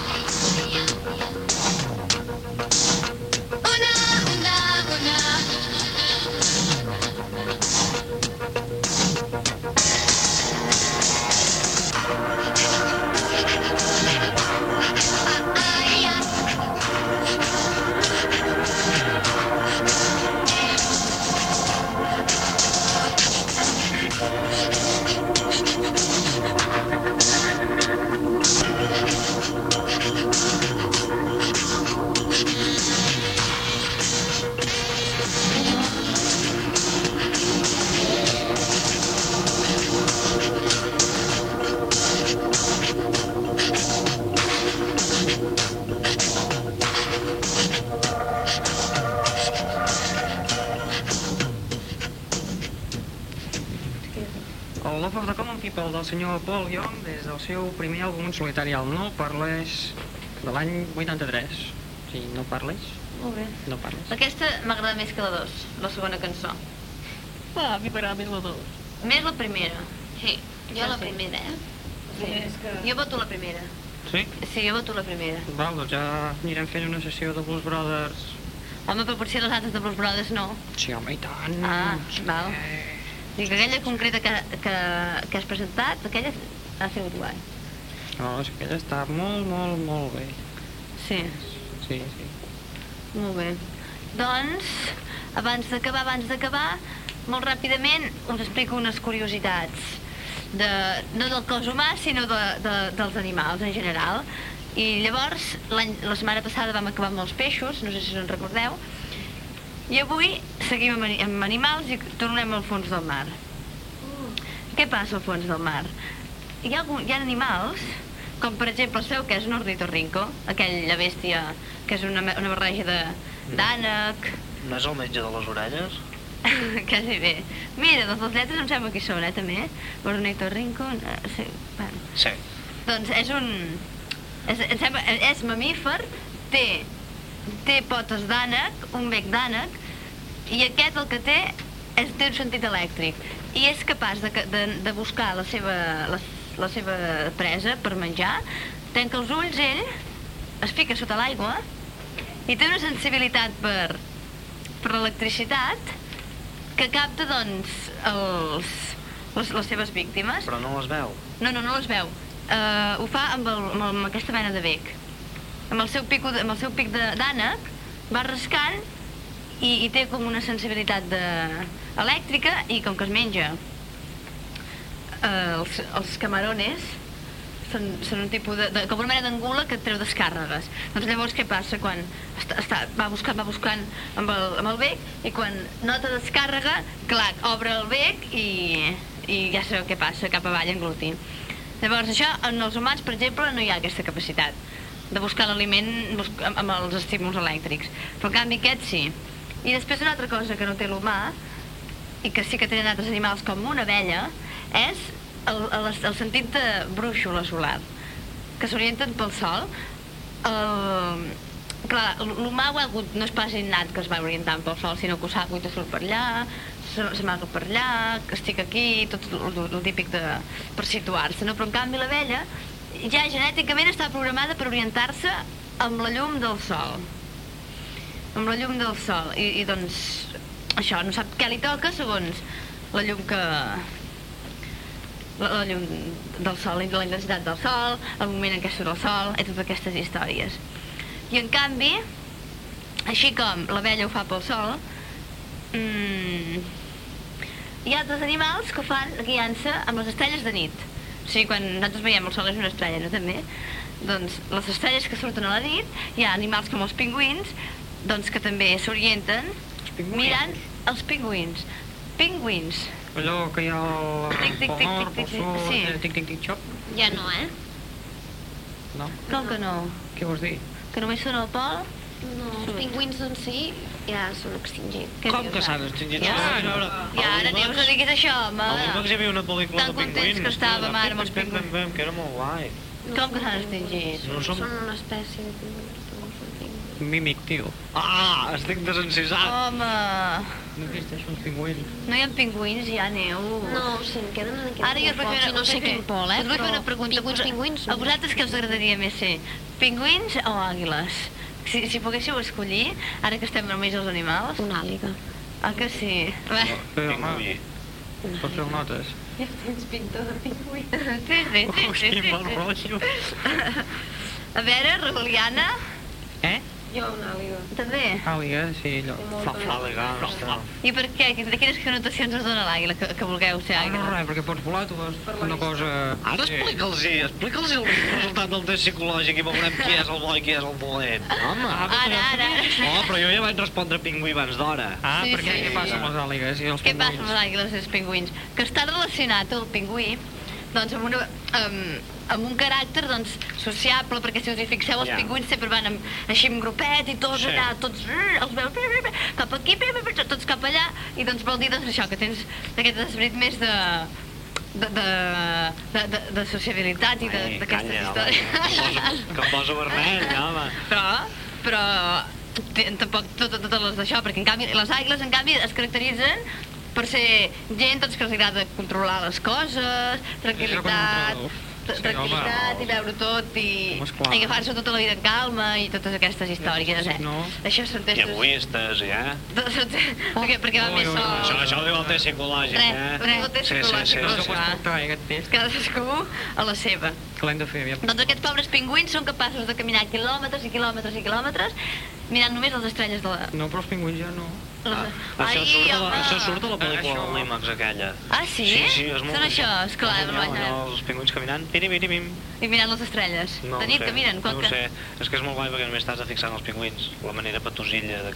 S11: ai, ai.
S8: El Love of the Common People del senyor Paul Young des del seu primer àlbum en solitari al No Parles de l'any 83. O sigui, no parles,
S4: Molt bé.
S8: no parles.
S4: Aquesta m'agrada més que la dos, la segona cançó.
S12: Ah, a mi m'agrada més la 2.
S4: Més la primera. Sí, jo la primera, eh? Sí. Jo voto la primera.
S8: Sí?
S4: Sí, jo voto la primera.
S8: Val, doncs ja anirem fent una sessió de Blues Brothers.
S4: Home, però potser les altres de Blues Brothers no.
S8: Sí, home, i tant.
S4: Ah, val. Dic, aquella concreta que, que, que has presentat, aquella ha sigut guai.
S8: No, és que ella està molt, molt, molt bé.
S4: Sí,
S8: Sí, sí.
S4: molt bé. Doncs, abans d'acabar, abans d'acabar, molt ràpidament us explico unes curiositats. De, no del cos humà, sinó de, de, dels animals en general. I llavors, l'any- la setmana passada vam acabar amb els peixos, no sé si us en recordeu, i avui seguim amb, ani- amb animals i tornem al fons del mar. Què passa al fons del mar? Hi ha, algun, hi ha animals, com per exemple el seu, que és un ornitorrinco, aquella bèstia que és una, me- una barreja de d'ànec,
S1: No és el metge de les orelles?
S4: [LAUGHS] quasi bé. Mira, doncs les lletres em sembla que hi són, eh, també. Ornitorrinco, eh, sí, bueno.
S1: Sí.
S4: Doncs és un... És, em sembla, és mamífer, té, té potes d'ànec, un bec d'ànec, i aquest el que té és, té un sentit elèctric. I és capaç de, ca- de, de buscar la seva, la, la seva presa per menjar, tanca els ulls ell, es fica sota l'aigua, i té una sensibilitat per, per l'electricitat que capta, doncs, els, les, les seves víctimes.
S1: Però no les veu.
S4: No, no, no les veu. Uh, ho fa amb, el, amb, el, amb aquesta mena de bec. Amb el seu, pico, de- amb el seu pic de- d'ànec va rascant i, i té com una sensibilitat de... elèctrica i com que es menja uh, els, els camarones són, són un tipus de, de, com una mena d'angula que et treu descàrregues. Doncs llavors què passa quan està, està, va, buscant, va buscant amb el, amb el bec i quan nota descàrrega, clac, obre el bec i, i ja sabeu què passa, cap avall engluti. Llavors això en els humans, per exemple, no hi ha aquesta capacitat de buscar l'aliment bus- amb, amb els estímuls elèctrics. Però en canvi aquest sí. I després una altra cosa que no té l'humà, i que sí que tenen altres animals com una abella, és el, el, el sentit de brúixola solar, que s'orienten pel sol. El, clar, l'humà ho ha hagut, no és pas innat que es va orientant pel sol, sinó que ho sap, avui surt per allà, se- s'amaga per allà, que estic aquí, tot el, el, el típic de, per situar-se, no? Però en canvi l'abella ja genèticament està programada per orientar-se amb la llum del sol amb la llum del sol i, i doncs això, no sap què li toca segons la llum que la, la llum del sol, la intensitat del sol el moment en què surt el sol i totes aquestes històries i en canvi així com l'abella ho fa pel sol mmm, hi ha altres animals que fan guiança amb les estrelles de nit o sigui, quan nosaltres veiem el sol és una estrella, no també? Doncs les estrelles que surten a la nit hi ha animals com els pingüins doncs que també s'orienten mirant els pingüins pingüins
S8: Allò que hi ha al
S4: Tic, tic,
S8: Pol
S4: tic,
S8: Nord,
S4: tic,
S8: pel
S4: tic,
S8: Sud,
S4: sí.
S8: eh, tic, tic, tic, xop,
S4: ja no, eh?
S8: no?
S4: Com que no?
S8: Què vols dir?
S4: Que només són al pol?
S9: No, els pingüins doncs sí, ja són extingits.
S4: Què
S1: Com
S4: dius,
S1: que
S4: ara?
S1: s'han extingit?
S4: Ja,
S1: Ah, no, no.
S4: I ara, dius, no diguis això, home.
S1: A l'Umax hi havia una pel·lícula
S4: Tan
S1: de
S4: contents
S1: pingüins.
S4: que estàvem ara amb els
S1: Pim, pim, pim, pim, que era molt guai.
S4: Com que s'han extingit?
S1: No som...
S9: Són una espècie de pingüins, però no són pingüins.
S8: Mímic, tio.
S1: Ah, estic desencisat.
S4: Home,
S8: No existeix un pingüins.
S4: no hi ha pingüins, hi ha neu.
S9: No, o sigui, em queden en aquest
S4: Ara jo us vull fer una,
S9: no sé quin pol, eh?
S4: Us vull fer una pregunta.
S9: Pingüins,
S4: vos-
S9: pingüins,
S4: a vosaltres què us agradaria més ser? Pingüins o àguiles? Si, si poguéssiu escollir, ara que estem només els animals,
S9: Una àliga.
S4: ah que sí? Va.
S8: Bé, home, pots fer notes.
S4: Sí, sí, sí,
S8: Ui,
S4: sí, sí,
S8: quin mal
S4: sí.
S8: rotllo.
S4: A veure, Reguliana,
S8: Eh?
S13: Jo una àliga.
S4: també.
S8: Àliga, sí, allò.
S1: Fa fàl·lega, no.
S4: I per què? De quines connotacions us dona l'àguila, que, que vulgueu ser
S8: Ah, no,
S4: àguila?
S8: res, perquè pots volar, tu vas una cosa...
S1: Ara explica'ls, explica'ls el resultat del test psicològic i veurem qui és el bo i qui és el dolent.
S7: Ah.
S1: Home.
S8: Ah,
S4: Ara, ara, ara.
S1: Oh, però jo ja vaig respondre pingüí abans d'hora.
S8: Ah,
S4: Sí,
S8: perquè
S4: sí.
S8: què passa amb les àligues i els
S4: Què passa amb
S8: pingüins?
S4: les àguiles i els pingüins? Que està relacionat el pingüí doncs, amb, una, amb, amb un caràcter doncs, sociable, perquè si us hi fixeu, els
S1: Ja.
S4: pingüins sempre van amb, així amb grupet i tots
S1: Sí.
S4: allà, tots eh, els veus eh, eh, eh, cap aquí, eh, eh, eh, tots cap allà, i doncs vol dir doncs, això, que tens aquest esperit més de,
S7: de, de, de, de, de sociabilitat i de- d'aquestes
S1: [LAUGHS]
S7: històries.
S1: Que em poso vermell, home.
S7: però, però t- tampoc tot, totes les d'això, perquè en canvi les aigles en canvi es caracteritzen per ser gent doncs, que els agrada controlar les coses, tranquil·litat, tra-
S8: Sí,
S7: tranquil·litat
S8: home.
S7: i veure tot i,
S8: Home, esclar.
S7: i agafar-se tota la vida en calma i totes aquestes històries, eh? No. Això són
S1: I
S7: testos...
S1: avui estàs, ja?
S7: [LAUGHS] perquè,
S8: Oh,
S7: perquè va més
S1: Això,
S7: sol.
S1: això ho diu el test psicològic,
S7: Res,
S1: eh?
S7: ho diu el test psicològic, no ho fa. Cadascú a la seva.
S8: eh, Que l'hem de fer aviat.
S7: Doncs aquests pobres pingüins són capaços de caminar quilòmetres i quilòmetres i quilòmetres mirant només les estrelles de la...
S8: No, però els pingüins ja no.
S7: les-
S1: Ah, Això
S7: Ai,
S1: surt, de la,
S7: home.
S1: això surt de la pel·lícula de l'Imax aquella.
S7: Ah, sí?
S1: Sí, sí, és molt...
S7: Són això, esclar,
S1: Allà,
S7: vergonya.
S1: allà, Els pingüins caminant, pirimirimim.
S7: I mirant les estrelles.
S1: No
S7: de
S1: ho
S7: nit
S1: sé,
S7: que miren. Quan
S1: no ho
S7: que...
S1: sé. És que és molt guai perquè només t'has de fixar en els pingüins. La manera patosilla de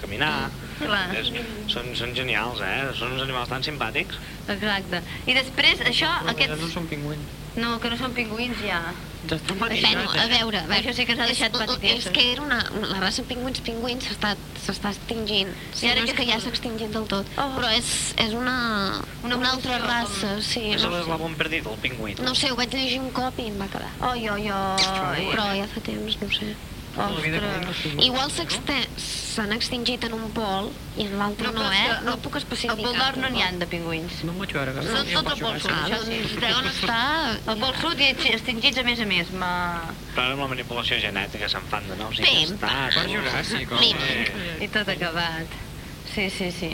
S7: Ah,
S1: caminar.
S7: Clar.
S1: És, són, són genials, eh? Són uns animals tan simpàtics.
S7: Exacte. I després, això, aquests...
S8: No són pingüins.
S7: No, que no són pingüins ja.
S8: Ja estan
S4: Bueno, a veure, a veure.
S7: Això sí que s'ha
S4: és-
S7: deixat
S4: És,
S7: petites.
S4: que era una... La raça pingüins pingüins s'està s'està extingint. Sí,
S7: I ara
S4: no és
S7: que
S4: que ja
S7: surt.
S4: s'ha extingit del tot. Però és, és una, una, altra raça, sí.
S1: és
S4: no, sé.
S1: l'eslàbon perdit, el pingüí.
S4: no ho sé, ho vaig llegir un cop i em va quedar.
S7: Oi, oi, oi.
S4: Però ja fa temps, no ho sé. Igual s'exte- s'han extingit en un pol i en l'altre no, eh? No, puc especificar.
S7: A Boldor no n'hi han de pingüins.
S8: No em vaig veure.
S7: Són tot el
S1: Ah,
S7: pol sud,
S4: ah,
S7: això
S4: doncs,
S7: sí. Deu on està... El pol sud i extingits a més a més. Ma...
S1: Però ara amb la manipulació genètica se'n fan de nous.
S7: Pim, pam.
S1: Per Juràssic,
S7: I tot acabat. Sí, sí, sí.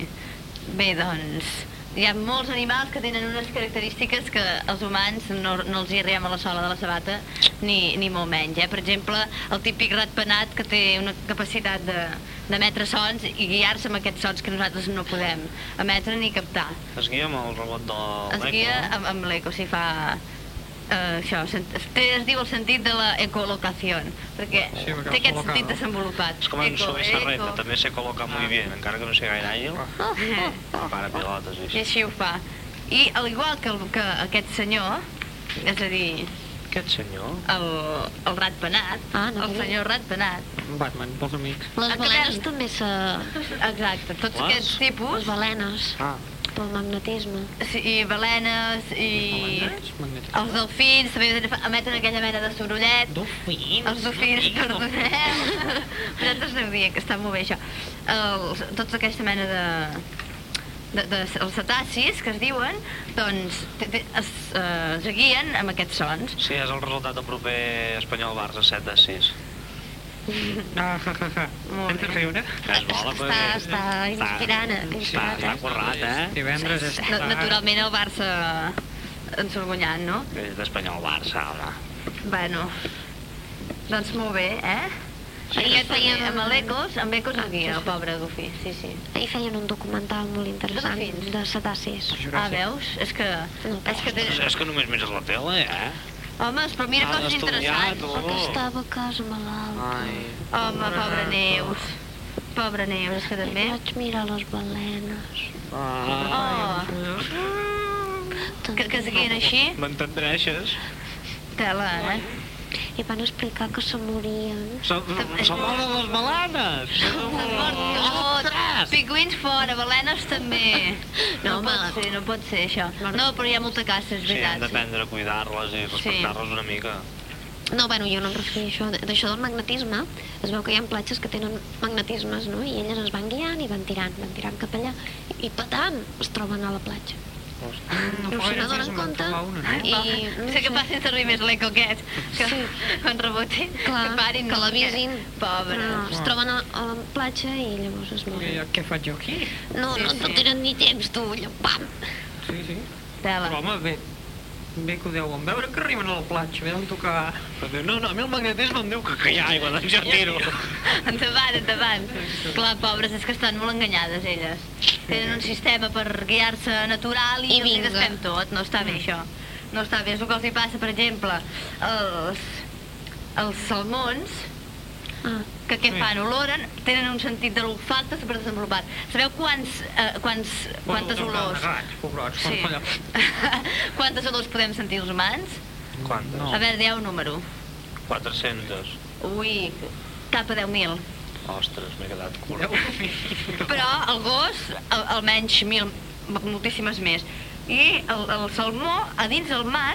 S7: Bé, doncs, hi ha molts animals que tenen unes característiques que els humans no, no els hi riem a la sola de la sabata, ni, ni molt menys. Eh? Per exemple, el típic ratpenat que té una capacitat de d'emetre sons i guiar-se amb aquests sons que nosaltres no podem emetre ni captar.
S1: Es guia amb el robot del
S7: Es guia
S1: eh?
S7: amb, amb l'eco, si fa... Eh, això, sent, té, es diu el sentit de la ecolocació, perquè
S1: Sí, perquè
S7: té aquest
S1: col·locar,
S7: sentit
S1: no?
S7: desenvolupat.
S1: És com en Sobi Sarreta,
S7: eco. [LAUGHS]
S1: també se col·loca
S9: Ah.
S1: molt bé, encara que no sigui gaire àgil. Para pilotes i
S7: I
S1: així.
S7: així ho fa. I al igual que, el, que aquest senyor, és a dir,
S1: Aquest senyor...
S7: el, el ratpenat, ah, no el senyor [LAUGHS] ratpenat,
S8: Batman, pels amics.
S4: Les
S7: Acabem.
S4: balenes també se...
S7: Exacte, tots
S4: Les?
S7: aquests tipus...
S4: Les balenes,
S8: Ah.
S4: pel magnetisme.
S7: Sí, I balenes, i...
S8: Magnífic.
S4: Ah.
S7: Els delfins també fa- emeten aquella mena de sorollet.
S1: Delfins?
S7: Els delfins, perdoneu. Nosaltres no diem que està molt bé això. Els, tots aquesta mena de... De, de, els cetacis, que es diuen, doncs té- té- es, eh, es guien amb aquests sons.
S1: Sí, és el resultat del proper Espanyol-Barça 7 a 6.
S8: Ah, ha, ha, ha. Hem de riure.
S1: Que es vola,
S4: Està, està inspirant,
S1: Està,
S4: inspirat.
S1: està currat, eh?
S8: Divendres és...
S7: eh, Na- Naturalment el Barça ensorgonyant, no?
S1: És d'Espanyol-Barça, home.
S7: Bueno, doncs molt bé, eh?
S4: Sí,
S7: Aquest
S4: sí.
S7: feia amb l'Ecos, amb Ecos el guia, el pobre Dufí, sí, sí.
S4: Ahir feien un documental molt interessant
S7: Delfins.
S4: de cetacis.
S7: Ah, veus? És que... És que té...
S1: És, és que només mires la tele, eh?
S7: Homes, però mira
S1: Ah,
S7: coses
S1: estudiat,
S7: interessants.
S1: oh.
S4: El que estava a casa malalt.
S7: Ah,
S1: Ai...
S7: Home,
S1: Ah.
S7: pobra Neus. Pobra Neus, és que també...
S4: Vaig mirar les balenes.
S7: Oh, que, que es guien així,
S1: M'entendreixes?
S7: tela, eh?
S4: I van explicar que se morien.
S1: Som, som hora de les
S7: [LAUGHS]
S1: balanes!
S7: Mort tot. Pingüins fora, balenes també. No,
S4: No, home.
S7: pot ser, no pot ser això. No, però hi ha molta caça, és
S1: Sí, hem
S7: veritat.
S1: d'aprendre a cuidar-les i respectar-les una mica.
S4: No, bueno, jo no em referia a això. D'això del magnetisme, es veu que hi ha platges que tenen magnetismes, no? I elles es van guiant i van tirant, van tirant cap allà. I patant, es troben a la platja. No, no se n'adonen compte. I, no
S7: sé que facin servir més l'eco aquest, que
S4: Sí.
S7: quan reboti,
S4: Clar,
S7: que parin.
S4: que
S7: no,
S4: l'avisin.
S7: perquè- Pobre.
S4: Però es troben a, a la platja i llavors es moren.
S8: Què faig jo aquí?
S4: No,
S7: Sí,
S4: no,
S7: sí.
S4: no tenen ni temps, tu, allò, pam!
S8: Sí, sí. Però
S7: Tela.
S8: home, bé, bé que ho deuen veure que arriben a la platja, bé d'on tocar...
S1: No, no, a mi el magnetisme em diu que, que hi ha aigua, doncs jo tiro.
S7: Endavant, endavant. Clar, pobres, és que estan molt enganyades elles. Tenen un sistema per guiar-se natural i,
S4: I vinga. Mm.
S7: els hi gastem tot. No està bé això. No està bé. És el que els hi passa, per exemple, els, els salmons,
S4: Ah,
S7: que què fan? Oloren, tenen un sentit de l'olfacte super desenvolupat. Sabeu quants, eh, quants, quantes olors?
S8: Pobrots,
S7: [LAUGHS] Sí.
S8: quan
S7: quantes olors podem sentir els humans?
S1: Quantes?
S7: A veure, dieu un número.
S1: 400.
S7: Ui, cap a 10.000.
S1: Ostres, m'he quedat curt.
S8: falla.
S7: Però el gos, al- almenys mil, moltíssimes més. i el, el salmó a dins del mar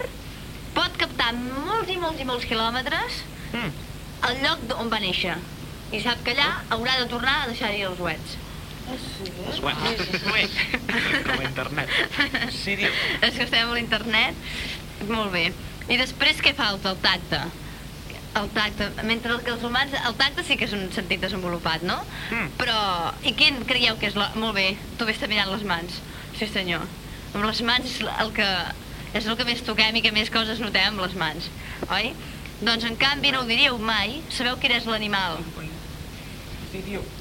S7: pot captar molts i molts i molts quilòmetres
S1: Hmm.
S7: el lloc d- on va néixer i sap que allà haurà de tornar a deixar-hi els uets.
S1: Oh. Els webs. Com a internet. Sí, diu.
S7: És que estem a l'internet. Molt bé. I després què falta? El tacte. El tacte. Mentre que els humans... El tacte sí que és un sentit desenvolupat, no?
S8: Hmm.
S7: Mm. Però... I quin creieu que és la... Molt bé, tu vés mirant les mans. Sí, senyor. Amb les mans és el que... És el que més toquem i que més coses notem amb les mans, oi? Doncs en canvi no ho diríeu mai, sabeu quin és l'animal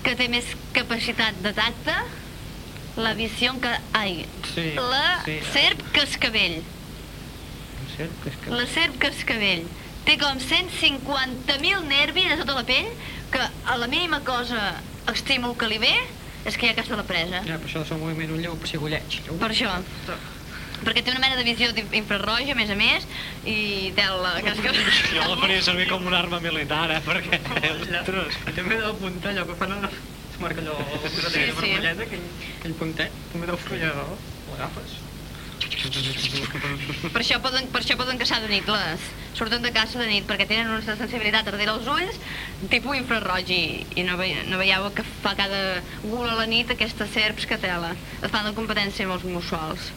S7: que té més capacitat de tacte? La visió que... Ai,
S8: Sí,
S7: la
S8: sí.
S7: serp cascavell. La serp cascavell. Té com 150.000 nervis a tota la pell que a la mínima cosa estímul que li ve és que ja caça la presa.
S8: Ja, per això és un moviment un lleu, per si golleig.
S1: [LAUGHS]
S7: Per això. Perquè té una mena de visió d'in- infraroja, a més a més, i té la cascavell.
S1: Jo la faria servir com una arma militar, eh, perquè...
S8: Ostres, també deu apuntar allò que fan a la... Es marca allò la cosa
S7: Sí,
S8: sí,
S7: sí.
S8: vermelleta, aquell, aquell puntet, també deu fer allò, l'agafes.
S7: [LAUGHS] Per això poden, per això poden caçar de nit les... Surten de caça de nit perquè tenen una sensibilitat darrere els ulls, tipus infraroig, i, i no, ve, no veieu que fa cada gula a la nit aquestes serps que tela. Es fan la competència amb els mussols.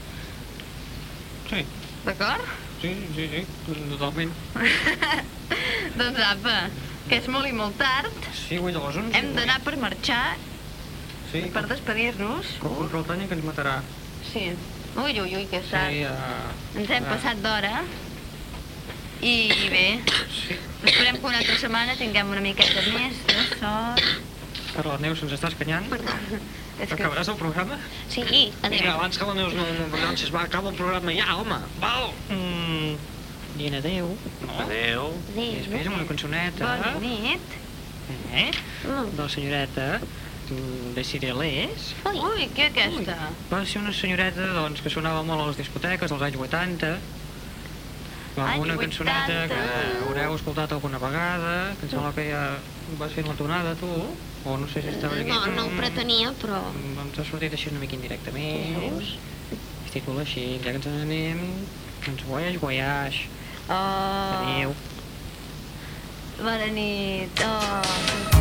S8: Sí,
S7: D'acord?
S8: sí, sí, sí, totalment.
S7: doncs apa, que és molt i molt tard,
S8: Sí, avui a les 11.
S7: hem d'anar per marxar,
S8: Sí,
S7: per despedir-nos.
S8: com un Roltanya que ens matarà.
S7: Sí. Ui, ui, ui, que sap.
S8: Sí, uh,
S7: Ens hem passat d'hora i bé, esperem que una altra setmana tinguem una miqueta més de sort.
S8: Per la Neus ens està escanyant.
S7: És que...
S8: Acabaràs el programa?
S7: Sí,
S8: Vinga,
S7: adéu.
S8: abans que la Neus no, no perdoni, es va acabar el programa ja, home. Val. Mm, dient adéu. No?
S1: Adéu.
S8: I després amb una cançoneta.
S7: Bona nit.
S8: Eh? De la senyoreta mm, de Cirelés.
S7: Ui, què aquesta?
S8: Va ser una senyoreta doncs, que sonava molt a les discoteques als anys 80. Amb
S7: Anys
S8: una cançoneta
S7: 80.
S8: que haureu escoltat alguna vegada, que em sembla que ja vas fent la tonada tu, o no sé si estava aquí.
S14: No, no ho pretenia, però...
S8: Mm, Doncs ha sortit així una mica indirectament. Es titula així, ja que ens n'anem, ens guaiaix, guaiaix.
S7: Oh,
S8: Adéu.
S7: bona nit. Oh.